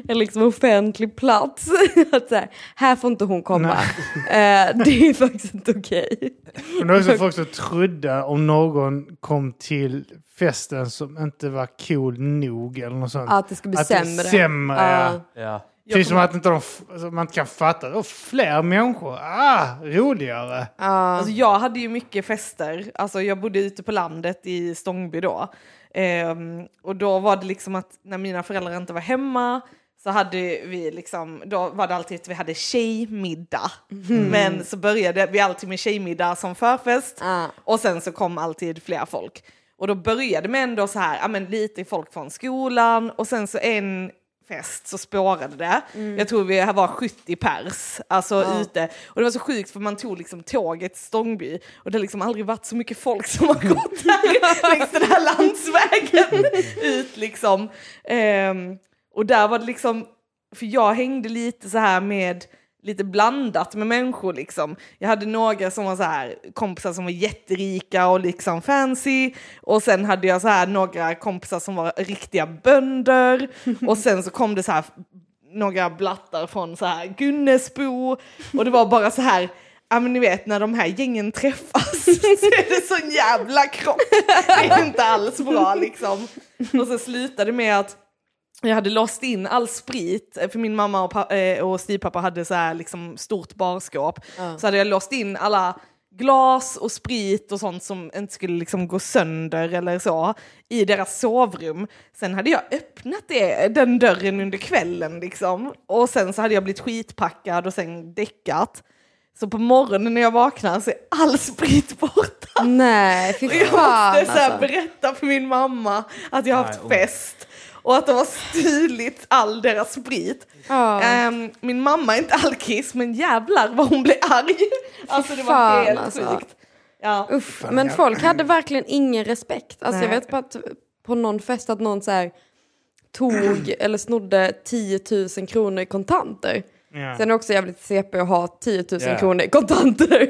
Speaker 4: en liksom offentlig plats. Att så här, här får inte hon komma. Eh, det är faktiskt inte okej.
Speaker 2: Men det var också folk som trodde om någon kom till festen som inte var cool nog eller något sånt.
Speaker 4: Att det ska bli
Speaker 2: Att det är
Speaker 4: sämre.
Speaker 2: sämre, ja.
Speaker 4: Ja.
Speaker 3: Ja.
Speaker 2: Precis som att inte de, f- alltså, man inte kan fatta. Och fler människor, ah, roligare.
Speaker 1: Alltså jag hade ju mycket fester, alltså jag bodde ute på landet i Stångby då. Ehm, och då var det liksom att när mina föräldrar inte var hemma så hade vi liksom, då var det alltid att vi hade tjejmiddag. Men så började vi alltid med tjejmiddag som förfest
Speaker 4: Ah.
Speaker 1: och sen så kom alltid fler folk. Och då började med ändå så här, ja men lite folk från skolan och sen så en fest så spårade det. Jag tror vi var 70 pers alltså ute. Och det var så sjukt för man tog liksom tåget till Stångby och det har liksom aldrig varit så mycket folk som har gått här längs den här landsvägen ut liksom. Ehm, och där var det liksom, för jag hängde lite så här med lite blandat med människor liksom. Jag hade några som var så här kompisar som var jätterika och liksom fancy och sen hade jag så här några kompisar som var riktiga bönder och sen så kom det så här några blattar från så här Gunnesbo och det var bara så här Ja men ni vet när de här gängen träffas så är det sån jävla krock. Det är inte alls bra liksom. Och så slutade det med att jag hade låst in all sprit, eh, för min mamma och, pa- eh, och styvpappa hade så här liksom stort barskåp. Så hade jag låst in alla glas och sprit och sånt som inte skulle liksom gå sönder eller så i deras sovrum. Sen hade jag öppnat det, den dörren under kvällen liksom. Och sen så hade jag blivit skitpackad och sen däckat. Så på morgonen när jag vaknar så är all sprit borta.
Speaker 4: Nej, fy
Speaker 1: Och jag
Speaker 4: fan
Speaker 1: måste så här
Speaker 4: alltså.
Speaker 1: berätta för min mamma att jag har haft
Speaker 3: Nej, oh.
Speaker 1: fest och att de har stulit all deras sprit.
Speaker 4: Ja.
Speaker 1: Ehm, min mamma är inte alkis, men jävlar vad hon blev arg. Alltså det var
Speaker 4: fan,
Speaker 1: helt
Speaker 4: alltså.
Speaker 1: sjukt. Ja.
Speaker 4: Uff, men folk hade verkligen ingen respekt. Alltså, jag
Speaker 1: Nej.
Speaker 4: vet bara att på någon fest att någon så här, tog eller snodde 10 000 kronor i kontanter.
Speaker 2: Ja.
Speaker 4: Sen är det också jävligt CP att ha 10 000
Speaker 3: Ja.
Speaker 4: kronor i kontanter.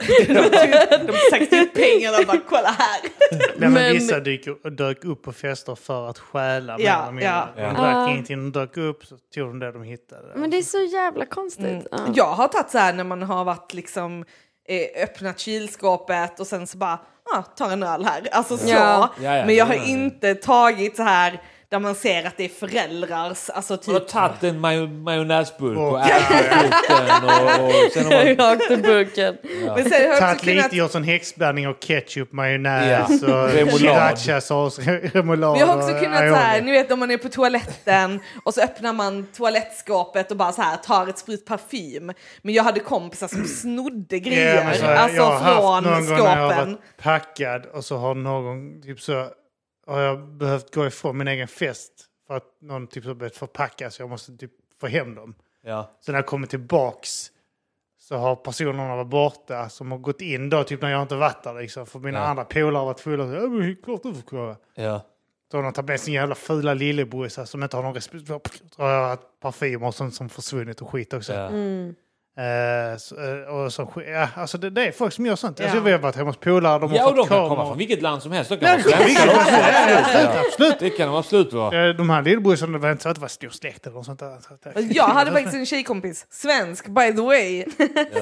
Speaker 1: De sökte upp pengarna och bara kolla här.
Speaker 2: Men,
Speaker 4: Men-
Speaker 2: vissa dyk, dök upp på fester för att stjäla
Speaker 1: Ja,
Speaker 2: mer eller mindre.
Speaker 1: ja.
Speaker 2: De
Speaker 3: Ja.
Speaker 2: drack
Speaker 4: Ah.
Speaker 2: ingenting, de dök upp så tog de det de hittade.
Speaker 1: Mm,
Speaker 4: men det är så jävla konstigt. Mm, Ja.
Speaker 1: Jag har tagit så här när man har varit liksom eh, öppnat kylskåpet och sen så bara ah, tar en öl här. Alltså så.
Speaker 4: Ja.
Speaker 3: Ja, ja,
Speaker 1: men jag har
Speaker 3: det är-
Speaker 1: inte tagit så här där man ser att det är föräldrars, alltså
Speaker 3: Du har
Speaker 1: typ
Speaker 3: tagit en maj majonnäsburk och
Speaker 2: Och-
Speaker 3: ätit den och, och sen har man...
Speaker 4: Rakt i burken.
Speaker 1: Men sen har jag också
Speaker 2: Tagit
Speaker 1: kunnat-
Speaker 2: lite, gjort en häxblandning av ketchup, majonnäs
Speaker 3: Ja.
Speaker 2: och
Speaker 3: Remoulad.
Speaker 2: srirachasås, remoulad.
Speaker 1: Vi har också
Speaker 2: och
Speaker 1: kunnat
Speaker 2: aioli.
Speaker 1: så här, ni vet om man är på toaletten och så öppnar man toalettskåpet och bara så här tar ett sprut parfym. Men jag hade kompisar som snodde grejer,
Speaker 2: Ja, men så, här,
Speaker 1: alltså
Speaker 2: jag har haft
Speaker 1: från
Speaker 2: någon gång när jag har
Speaker 1: skåpen.
Speaker 2: varit packad och så har någon typ så har jag behövt gå ifrån min egen fest för att någon typ så har börjat förpacka så jag måste typ få hem dem.
Speaker 3: Ja.
Speaker 2: Så när jag kommer tillbaks så har personerna varit borta som har gått in då, typ när jag inte varit där liksom. För mina
Speaker 3: Ja.
Speaker 2: andra polare har varit fulla. och Så, ja, men klart du får komma.
Speaker 3: Ja.
Speaker 2: Då har de tagit med sin jävla fula lillebrorsa som inte har någon respekt. Parfymer och sånt som försvunnit och skit också.
Speaker 3: Ja.
Speaker 4: Mm.
Speaker 2: Eh, så, eh, och så, sk- ja, alltså det, det är folk som gör sånt.
Speaker 1: Ja.
Speaker 2: Alltså, vi har varit hemma hos polare, de har
Speaker 3: ja, och
Speaker 2: fått
Speaker 3: de kan
Speaker 2: kameror.
Speaker 3: komma från vilket land som helst. De
Speaker 2: Ja,
Speaker 3: kan vara
Speaker 2: det kan-
Speaker 3: svenskar också.
Speaker 2: absolut,
Speaker 3: Ja.
Speaker 2: absolut.
Speaker 3: Det kan de absolut vara.
Speaker 2: Eh, De här lillebrorsarna var inte så att det var stor släkt eller något sånt där. Så att-
Speaker 1: Alltså, Jag hade faktiskt en tjejkompis, svensk by the way,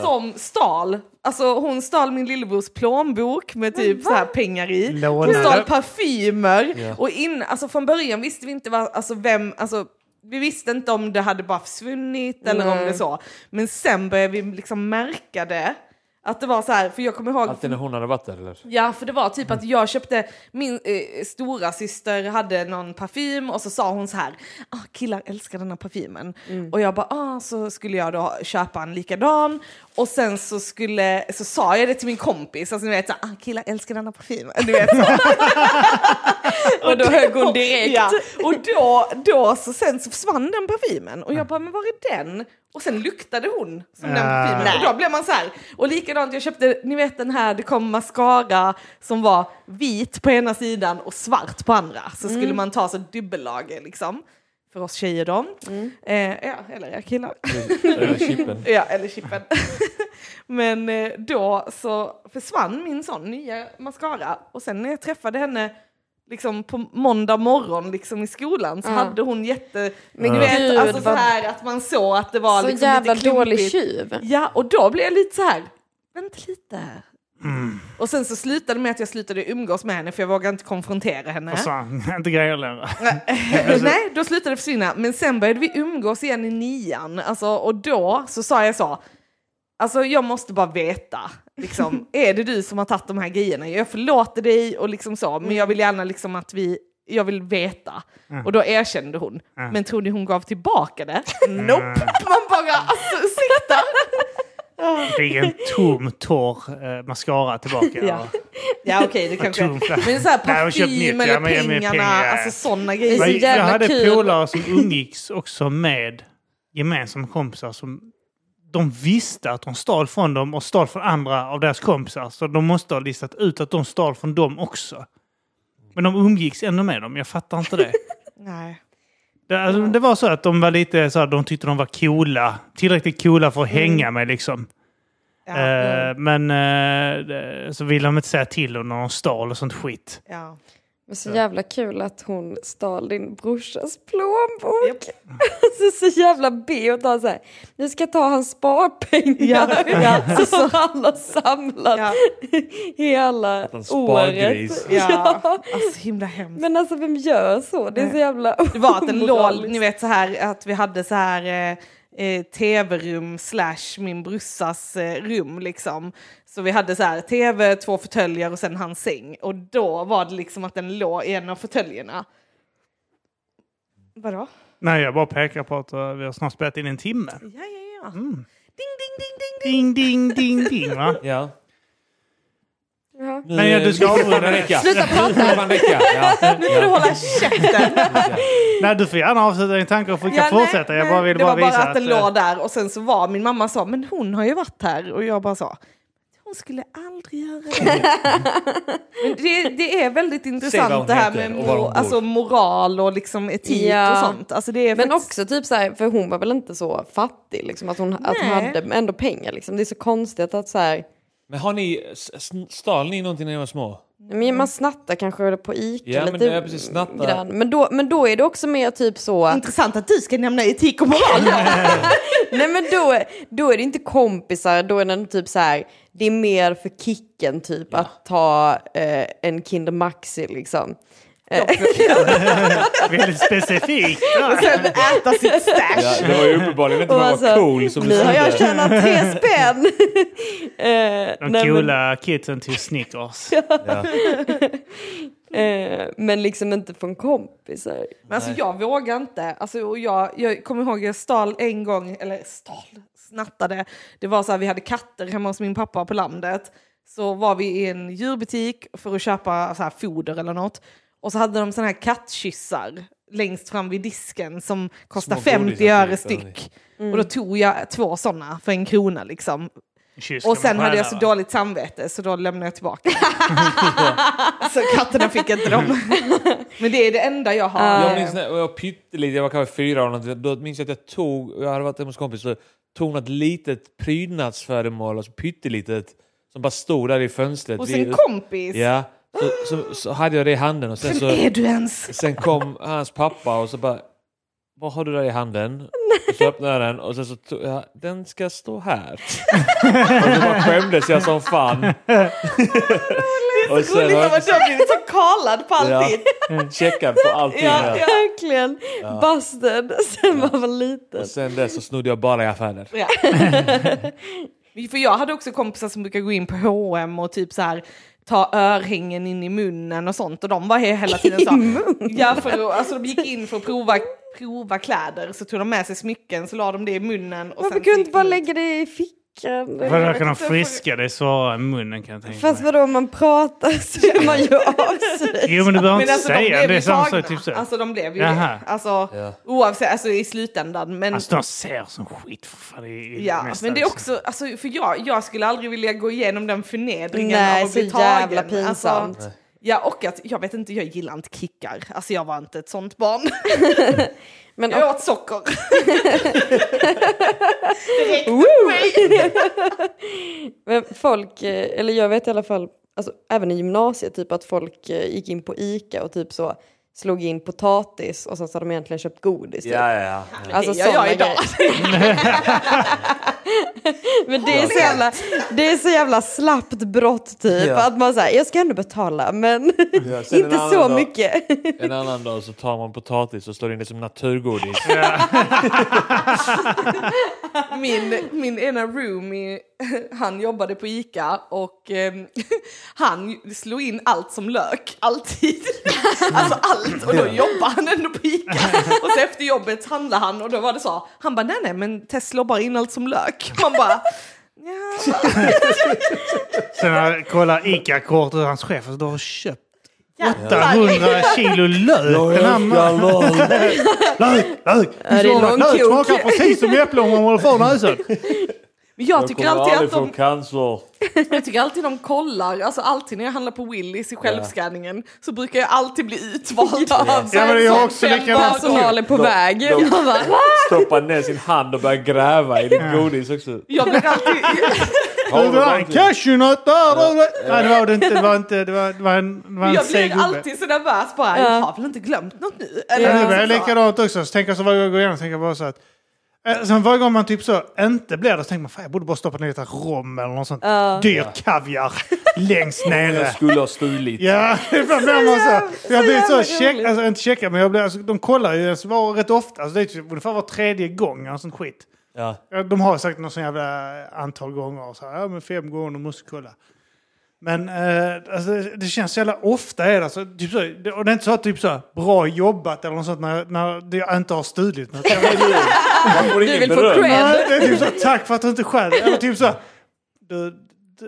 Speaker 1: som stal. Alltså hon stal min lillebrors plånbok med typ så här pengar i. Hon
Speaker 2: Lånade.
Speaker 1: stal parfymer.
Speaker 3: Ja.
Speaker 1: Och in, alltså från början visste vi inte vad, alltså vem, alltså vi visste inte om det hade bara försvunnit eller om
Speaker 4: Nej.
Speaker 1: det så. Men sen började vi liksom märka det. Att det var så här, för jag kommer ihåg
Speaker 3: Alltid när hon hade varit där eller?
Speaker 1: Ja, för det var typ att jag köpte, min eh, stora syster hade någon parfym och så sa hon så här, ah, killar älskar den här parfymen. Och jag bara, ah, så skulle jag då köpa en likadan. Och sen så, skulle, så sa jag det till min kompis, alltså ni vet, så, här, ah, killar älskar den här parfymen. Du vet, så.
Speaker 4: Och då högg hon direkt.
Speaker 1: Ja, och då, då så sen så försvann den parfymen och jag bara, men var är den? Och sen luktade hon som den
Speaker 2: Ah.
Speaker 1: parfymen. Och då blev man så här. Och likadant, jag köpte, ni vet den här, det kom mascara som var vit på ena sidan och svart på andra. Så
Speaker 4: Mm.
Speaker 1: skulle man ta så dubbellager liksom. För oss tjejer då.
Speaker 4: Mm.
Speaker 1: Eh, ja, eller jag killar.
Speaker 3: Eller chippen.
Speaker 1: Ja, eller chippen. Men eh, då så försvann min sån nya mascara och sen när jag träffade henne liksom på måndag morgon liksom i skolan så
Speaker 4: Ja.
Speaker 1: hade hon jätte...
Speaker 4: Men
Speaker 1: du vet,
Speaker 4: gud,
Speaker 1: alltså så
Speaker 4: vad-
Speaker 1: här att man såg att det var
Speaker 4: Så
Speaker 1: liksom
Speaker 4: jävla
Speaker 1: lite
Speaker 4: dålig
Speaker 1: klumpigt.
Speaker 4: tjuv.
Speaker 1: Ja, och då blev jag lite så här, vänta lite här. Och sen så slutade det med att jag slutade umgås med henne för jag vågade inte konfrontera henne.
Speaker 2: Försvann, inte grejer längre. Alltså-
Speaker 1: Nej, då slutade det försvinna. Men sen började vi umgås igen i nian. Alltså, och då så sa jag så, alltså jag måste bara veta. Liksom, är det du som har tagit de här grejerna? Jag förlåter dig och liksom så, men jag vill
Speaker 2: Mm.
Speaker 1: gärna liksom att vi, jag vill veta. Och då erkände hon.
Speaker 2: Mm.
Speaker 1: Men tror ni hon gav tillbaka det? Nope! Man bara, alltså ursäkta!
Speaker 2: Fick en tom, torr eh, mascara tillbaka.
Speaker 1: Ja. Ja okej, det kanske... Men så här
Speaker 2: Nej, hon köpte
Speaker 1: parfym
Speaker 2: nytt, ja,
Speaker 1: eller
Speaker 2: men- men
Speaker 1: pengarna,
Speaker 2: pengar.
Speaker 1: alltså sådana
Speaker 4: så
Speaker 2: Jag,
Speaker 1: grejer.
Speaker 4: Nej. jävla
Speaker 2: jag hade
Speaker 4: kul.
Speaker 2: polare som umgicks också med gemensamma kompisar som de visste att de stal från dem och stal från andra av deras kompisar. Så de måste ha listat ut att de stal från dem också. Men de umgicks ändå med dem. Jag fattar inte det.
Speaker 1: Nej.
Speaker 2: Det, alltså, det var så att de var lite så här, de tyckte de var coola. Tillräckligt coola för att hänga med liksom.
Speaker 1: Mm. Ja,
Speaker 2: Eh, Men eh, det- så ville de inte säga till om när de stal och sånt skit.
Speaker 1: ja.
Speaker 4: Men så jävla kul att hon stal din brorsas plånbok. Alltså så jävla B och ta så här, nu ska jag ta hans sparpengar.
Speaker 1: Ja,
Speaker 4: Så som han har samlat
Speaker 1: Ja.
Speaker 4: hela
Speaker 3: han
Speaker 4: året.
Speaker 3: spargris.
Speaker 1: Ja. Alltså himla hemskt.
Speaker 4: Men alltså vem gör så? Det är så jävla
Speaker 1: Det var att den låg,
Speaker 4: omoraliskt.
Speaker 1: ni vet så här att vi hade så här eh, eh, tv-rum slash min brussas eh, rum liksom. Så vi hade så här tv, två fåtöljer och sen hans säng. Och då var det liksom att den låg i en av fåtöljerna. Vadå?
Speaker 2: Nej, jag bara pekar på att eh, vi har snart spelat in en timme.
Speaker 1: Ja, ja, ja. Ding, ding, ding, ding, ding.
Speaker 2: Ding, ding, ding, ding va?
Speaker 3: Ja.
Speaker 4: Ja.
Speaker 3: Nu,
Speaker 2: Men ja, du ska
Speaker 3: nu får det
Speaker 2: avrunda
Speaker 3: fan
Speaker 2: det.
Speaker 3: räcka.
Speaker 4: Sluta
Speaker 3: Nu får det fan räcka. Ja.
Speaker 1: Nu får du hålla käften!
Speaker 2: Nej, du får gärna avsluta din tanke och få
Speaker 1: Ja, nej,
Speaker 2: fortsätta. Jag
Speaker 1: nej.
Speaker 2: bara vill
Speaker 1: det
Speaker 2: bara
Speaker 1: var bara
Speaker 2: visa
Speaker 1: att den
Speaker 2: eh,
Speaker 1: låg där och sen så var min mamma så, men hon har ju varit här och jag bara så, hon skulle aldrig göra det. men det, det är väldigt
Speaker 3: vad hon
Speaker 1: intressant det här
Speaker 3: heter
Speaker 1: med
Speaker 3: och var hon
Speaker 1: mor,
Speaker 3: bor.
Speaker 1: alltså moral och liksom etik
Speaker 4: Ja.
Speaker 1: och sånt. Alltså det är
Speaker 4: Men
Speaker 1: faktiskt-
Speaker 4: också typ så här, för hon var väl inte så fattig liksom, att, hon, att hon
Speaker 1: Nej.
Speaker 4: hade ändå pengar liksom. Det är så konstigt att så här,
Speaker 3: Men har ni, s- s- stal ni någonting när ni var små?
Speaker 4: men man snattar kanske på Ica
Speaker 3: Ja, men
Speaker 4: lite
Speaker 3: det är precis, snatta.
Speaker 4: grann. Men då, men då är det också mer typ så att
Speaker 1: intressant att du ska nämna etik och moral.
Speaker 4: Nej men då, då är det inte kompisar, då är det typ så här, det är mer för kicken typ att ta eh, en Kinder Maxi liksom.
Speaker 2: Väldigt specifikt.
Speaker 1: och sen äta sitt stash.
Speaker 3: Ja, det var ju uppenbarligen inte
Speaker 4: Och
Speaker 3: man
Speaker 4: alltså,
Speaker 3: var cool som du
Speaker 4: Nu har jag
Speaker 3: trodde.
Speaker 4: tjänat tre spänn! eh,
Speaker 2: De
Speaker 4: nej, men,
Speaker 2: coola kidsen till Snickers.
Speaker 4: eh, men liksom inte från kompisar.
Speaker 1: Men alltså jag vågar inte. Alltså, och jag, jag kommer ihåg jag stal en gång, eller stal, snattade. Det var så här, vi hade katter hemma hos min pappa på landet. Så var vi i en djurbutik för att köpa så här, foder eller något. Och så hade de såna här kattkyssar. längst fram vid disken som kostar
Speaker 3: Små
Speaker 1: 50
Speaker 3: godisar
Speaker 1: öre
Speaker 3: typ, eller
Speaker 1: styck. Och då tog jag två sådana för en krona liksom.
Speaker 6: Kyss,
Speaker 1: Och
Speaker 6: kan
Speaker 1: sen
Speaker 6: man
Speaker 1: hade jag
Speaker 6: stjäla,
Speaker 1: så
Speaker 6: va?
Speaker 1: dåligt samvete så då lämnade jag tillbaka. så katterna fick inte dem. Men det är det enda jag har.
Speaker 3: Jag minns när jag var pytteliten, jag var kanske fyra år, eller något, då minns jag att jag tog, jag hade varit hemma hos kompis, så tog något litet prydnadsföremål, alltså pyttelitet, som bara stod där i fönstret.
Speaker 1: Hos
Speaker 3: vid-
Speaker 1: en kompis.
Speaker 3: Ja, så, så, så hade jag det i handen och sen
Speaker 1: Vem
Speaker 3: så...
Speaker 1: är du ens?
Speaker 3: Sen kom hans pappa och så bara Vad har du där i handen? Och så öppnade jag den och sen så tog jag Den ska stå här. och så bara skämdes jag som fan. och
Speaker 1: Gulligt
Speaker 3: sen har
Speaker 1: av
Speaker 3: jag
Speaker 1: att du har blivit så kallad på
Speaker 3: Ja.
Speaker 1: allting.
Speaker 3: checkat på allting.
Speaker 1: Ja,
Speaker 3: Ja,
Speaker 1: ja.
Speaker 4: Verkligen. Busted sen man var liten.
Speaker 3: Och sen dess så snodde jag bara i affärer.
Speaker 1: Ja. För jag hade också kompisar som brukar gå in på H&M och typ så här ta örhängen in i munnen och sånt och de var he- hela tiden så ja, för att, alltså de gick in för att prova, prova kläder så tog de med sig smycken så la de det i munnen och
Speaker 4: Varför
Speaker 1: sen
Speaker 4: kunde du
Speaker 1: gick
Speaker 4: inte bara
Speaker 1: de ut.
Speaker 4: lägga det i fickan?
Speaker 6: Vadå, kan de friska dig svårare i munnen kan jag tänka
Speaker 4: Fast
Speaker 6: mig.
Speaker 4: vadå, om man pratar så gör man ju av sig.
Speaker 6: Jo men du behöver
Speaker 1: Men
Speaker 6: inte
Speaker 1: alltså de
Speaker 6: säga
Speaker 1: blev
Speaker 6: det.
Speaker 1: ju
Speaker 6: är samma sak,
Speaker 1: tagna.
Speaker 6: typ så. Alltså,
Speaker 1: alltså de blev ju det.
Speaker 6: Jaha. Alltså,
Speaker 1: Alltså,
Speaker 3: Ja.
Speaker 1: oavsett, alltså i slutändan. Men,
Speaker 2: Alltså,
Speaker 6: de ser som skit för fan. i- i
Speaker 1: ja,
Speaker 6: nästan,
Speaker 1: men det är
Speaker 6: liksom.
Speaker 1: också, alltså, för jag, jag skulle aldrig vilja gå igenom den förnedringen
Speaker 4: Nej,
Speaker 1: av att
Speaker 4: så
Speaker 1: bli tagen.
Speaker 4: jävla pinsamt.
Speaker 1: Alltså, ja, och att jag vet inte, jag gillar inte kickar. Alltså jag var inte ett sånt barn.
Speaker 4: Men
Speaker 1: Jag åt socker. det räckte för mig.
Speaker 4: Men folk, eh, eller jag vet i alla fall, alltså, även i gymnasiet, typ att folk eh, gick in på Ica och typ så slog in potatis och sen så hade de egentligen köpt godis. Typ.
Speaker 3: ja.
Speaker 4: Alltså
Speaker 1: Det gör jag
Speaker 4: såna
Speaker 1: idag.
Speaker 4: grejer. Men det är, så jävla, det är så jävla slappt brott typ.
Speaker 3: Ja.
Speaker 4: Att man säger jag ska ändå betala men
Speaker 3: sen en
Speaker 4: inte
Speaker 3: annan
Speaker 4: så
Speaker 3: dag.
Speaker 4: mycket.
Speaker 3: En annan dag så tar man potatis och slår in det som naturgodis.
Speaker 1: min, min ena roomie, han jobbade på Ica och em, han slog in allt som lök, alltid. Alltså allt, och då jobbar han ändå på Ica. Och så efter jobbet handlade han och då var det så, han bara nej nej men Tess slår bara in allt som lök. Man bara, ja,
Speaker 6: Sen när jag kollar Ica-kortet och hans chef och då har jag köpt
Speaker 1: jävlar.
Speaker 6: 100 kilo lök. Den här mannen. Lök, lök!
Speaker 4: det är
Speaker 6: Du sa att
Speaker 4: lång
Speaker 6: Lök
Speaker 4: krok.
Speaker 6: smakar precis som äpplen om man håller för
Speaker 2: alltså.
Speaker 6: näsan.
Speaker 1: Men Jag tycker alltid att de,
Speaker 3: få cancer.
Speaker 1: jag tycker alltid de kollar, alltså alltid när jag handlar på Willys i självskanningen så brukar jag alltid bli utvald.
Speaker 4: Ja.
Speaker 6: Ja, men jag har också
Speaker 1: Fem
Speaker 6: likadant.
Speaker 4: Personal är på
Speaker 3: De-
Speaker 4: väg.
Speaker 3: de-
Speaker 4: Man bara,
Speaker 3: Stoppar ner sin hand och börjar gräva i ditt godis också.
Speaker 1: Jag blir alltid...
Speaker 3: Har du
Speaker 6: Det var en
Speaker 3: verkligen-
Speaker 6: cashewnöt där! där, där. Nej, det var det inte. Det var, inte, det var, det var en, det var en
Speaker 1: Jag
Speaker 6: seg
Speaker 1: blir
Speaker 6: gubbe.
Speaker 1: alltid så nervös bara, jag har väl inte glömt något nu? Eller
Speaker 6: Ja, det
Speaker 1: liksom
Speaker 6: var
Speaker 1: så.
Speaker 6: likadant också. Så tänker jag så varje gång jag går igenom, så tänker jag bara så att... eh, Sen varje gång man typ så inte blir det så tänker man fan jag borde bara stoppa ner lite rom eller något sånt dyr kaviar längst nere.
Speaker 3: Jag skulle ha stulit.
Speaker 6: Ja, ibland blir man så. Jag blir så
Speaker 4: jävla
Speaker 6: check,
Speaker 4: roligt.
Speaker 6: alltså inte checkad men jag blir, alltså, de kollar ju ens var rätt ofta. Alltså, det är typ ungefär var tredje gång eller sånt skit.
Speaker 3: Ja.
Speaker 6: Ja, De har sagt något sån jävla eh, antal gånger. Så här, ja, men fem gånger, de måste kolla. Men eh, alltså, det- det känns så jävla ofta. Är det, alltså, typ så, det- och det är inte så att typ så här, bra jobbat eller något sånt när, när det- jag inte har stulit något.
Speaker 3: Man får
Speaker 4: Du
Speaker 3: ingen
Speaker 4: vill få
Speaker 3: beröm.
Speaker 4: cred.
Speaker 6: Nej, det är typ så här, tack för att du inte skäll. Eller typ så här, du,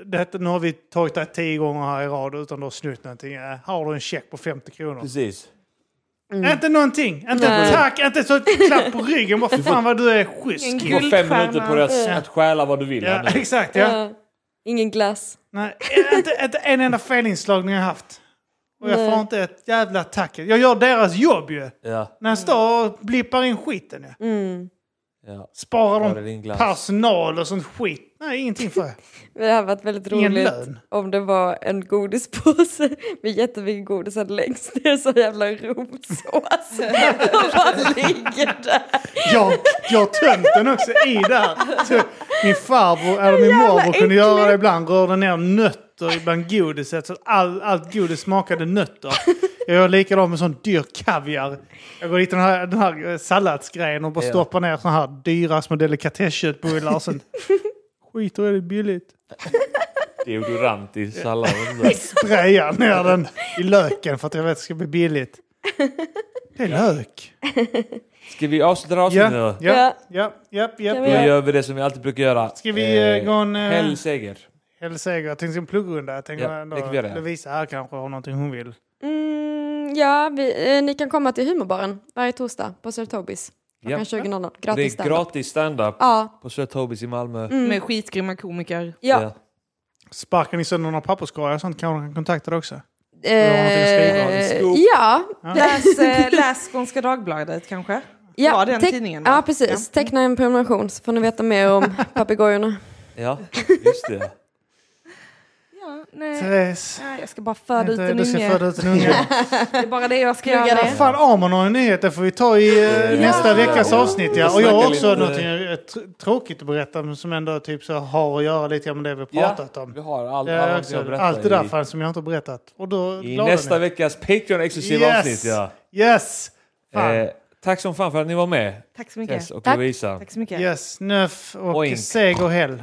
Speaker 6: det, nu har vi tagit dig tio gånger här i rad utan du har snott någonting. Eh, Här har du en check på 50 kronor.
Speaker 3: Precis.
Speaker 6: Inte någonting. Inte
Speaker 4: Nej.
Speaker 6: tack, inte så ett klapp på ryggen. Bara fan vad du är schysst.
Speaker 1: Ingen
Speaker 3: Du får fem
Speaker 1: Guldstjärna.
Speaker 3: minuter på dig att- att stjäla vad du vill.
Speaker 6: Ja,
Speaker 3: här nu.
Speaker 6: exakt ja.
Speaker 4: Ja. Ingen glass.
Speaker 6: Nej, inte, inte en enda felinslagning har jag haft. Och jag får inte ett jävla tack. Jag gör deras jobb ju.
Speaker 3: Ja,
Speaker 6: När jag står och blippar in skiten ju.
Speaker 4: Mm.
Speaker 3: ja. Var
Speaker 6: Sparar
Speaker 3: är din
Speaker 6: de
Speaker 3: glass?
Speaker 6: personal och sånt skit. Nej, ingenting för jag.
Speaker 4: Det hade varit väldigt
Speaker 6: Ingen
Speaker 4: roligt
Speaker 6: lön.
Speaker 4: om det var en godispåse med jättemycket godis här längst ner så jävla romsås. Och bara ligger där.
Speaker 6: Jag, jag har tömt den också i där. Så min farbror eller min
Speaker 4: Jävla
Speaker 6: morbror kunde
Speaker 4: äckligt.
Speaker 6: göra det ibland. Rörde ner nötter bland godiset så att all, allt godis smakade nötter. Jag gör likadant med sån dyr kaviar. Jag går dit i den här, den här eh, salladsgrejen och bara
Speaker 3: Ja.
Speaker 6: stoppar ner såna här dyra små delikatessköttbullar och sånt. Skit och är det billigt.
Speaker 3: Deodorant i salladen.
Speaker 6: Sprayar ner den i löken för att jag vet att det ska bli billigt. Det är lök.
Speaker 3: Ska vi avsluta avsnittet nu?
Speaker 6: Ja,
Speaker 3: då?
Speaker 6: ja, ja, ja,
Speaker 4: Kan
Speaker 6: ja.
Speaker 4: vi
Speaker 3: Då gör vi det som vi alltid brukar göra.
Speaker 6: Ska vi eh, gå en... eh,
Speaker 3: Hell seger.
Speaker 6: Eller säger jag tänkte en pluggrunda. Jag tänkte
Speaker 3: Ja,
Speaker 6: ändå
Speaker 3: det kan vi göra.
Speaker 6: Lovisa här kanske har någonting hon vill.
Speaker 4: Mm, ja, vi, eh, ni kan komma till humorbaren varje torsdag på Sir Tobis. Klockan
Speaker 3: Ja.
Speaker 4: 20.00.
Speaker 3: Det
Speaker 4: Gratis
Speaker 3: är
Speaker 4: standup.
Speaker 3: gratis standup
Speaker 4: Ja,
Speaker 3: på Sir Tobis i Malmö.
Speaker 1: Med skitgrymma komiker.
Speaker 4: ja.
Speaker 6: Sparkar ni sönder några papperskorgar och sånt kanske de kan kontakta dig också?
Speaker 1: Eh,
Speaker 6: har någonting att skriva om.
Speaker 4: Eh, ja,
Speaker 1: Läs, eh, läs Skånska Dagbladet kanske. Ja, den
Speaker 4: teck-
Speaker 1: tidningen då.
Speaker 4: Ja, precis. Teckna en prenumeration så får ni veta mer om papegojorna.
Speaker 3: Ja, just det.
Speaker 1: Ja, nej.
Speaker 6: Therese.
Speaker 1: Nej, Jag ska bara föda ut
Speaker 6: Vänta,
Speaker 1: en
Speaker 6: Du ska
Speaker 1: unge.
Speaker 6: föda ut en unge.
Speaker 1: Det är bara det jag ska
Speaker 4: Plugga
Speaker 1: göra.
Speaker 4: det.
Speaker 6: Fan, Amon har en nyhet. Det får vi ta i eh,
Speaker 3: Ja.
Speaker 6: nästa veckas
Speaker 3: Ja.
Speaker 6: avsnitt. Ja. Och
Speaker 3: Vi
Speaker 6: jag har
Speaker 3: snackar
Speaker 6: också
Speaker 3: lite-
Speaker 6: något eh, tråkigt att berätta men som ändå typ så har att göra lite med det vi pratat
Speaker 3: ja,
Speaker 6: om.
Speaker 3: Vi har all,
Speaker 6: Det är
Speaker 3: allt jag
Speaker 6: också,
Speaker 3: berättar
Speaker 6: allt det där
Speaker 3: i-
Speaker 6: fan som jag inte har berättat. Och då
Speaker 3: I
Speaker 6: glada
Speaker 3: nästa
Speaker 6: ni.
Speaker 3: veckas Patreon-exklusiva
Speaker 6: Yes!
Speaker 3: avsnitt. Ja.
Speaker 6: Yes! Fan.
Speaker 3: Eh, tack som fan för att ni var med,
Speaker 1: Tack så mycket.
Speaker 3: Tess och
Speaker 4: Tack.
Speaker 3: Lovisa.
Speaker 1: Tack så mycket.
Speaker 6: Yes, nöff och
Speaker 3: Oink.
Speaker 6: seg och häll.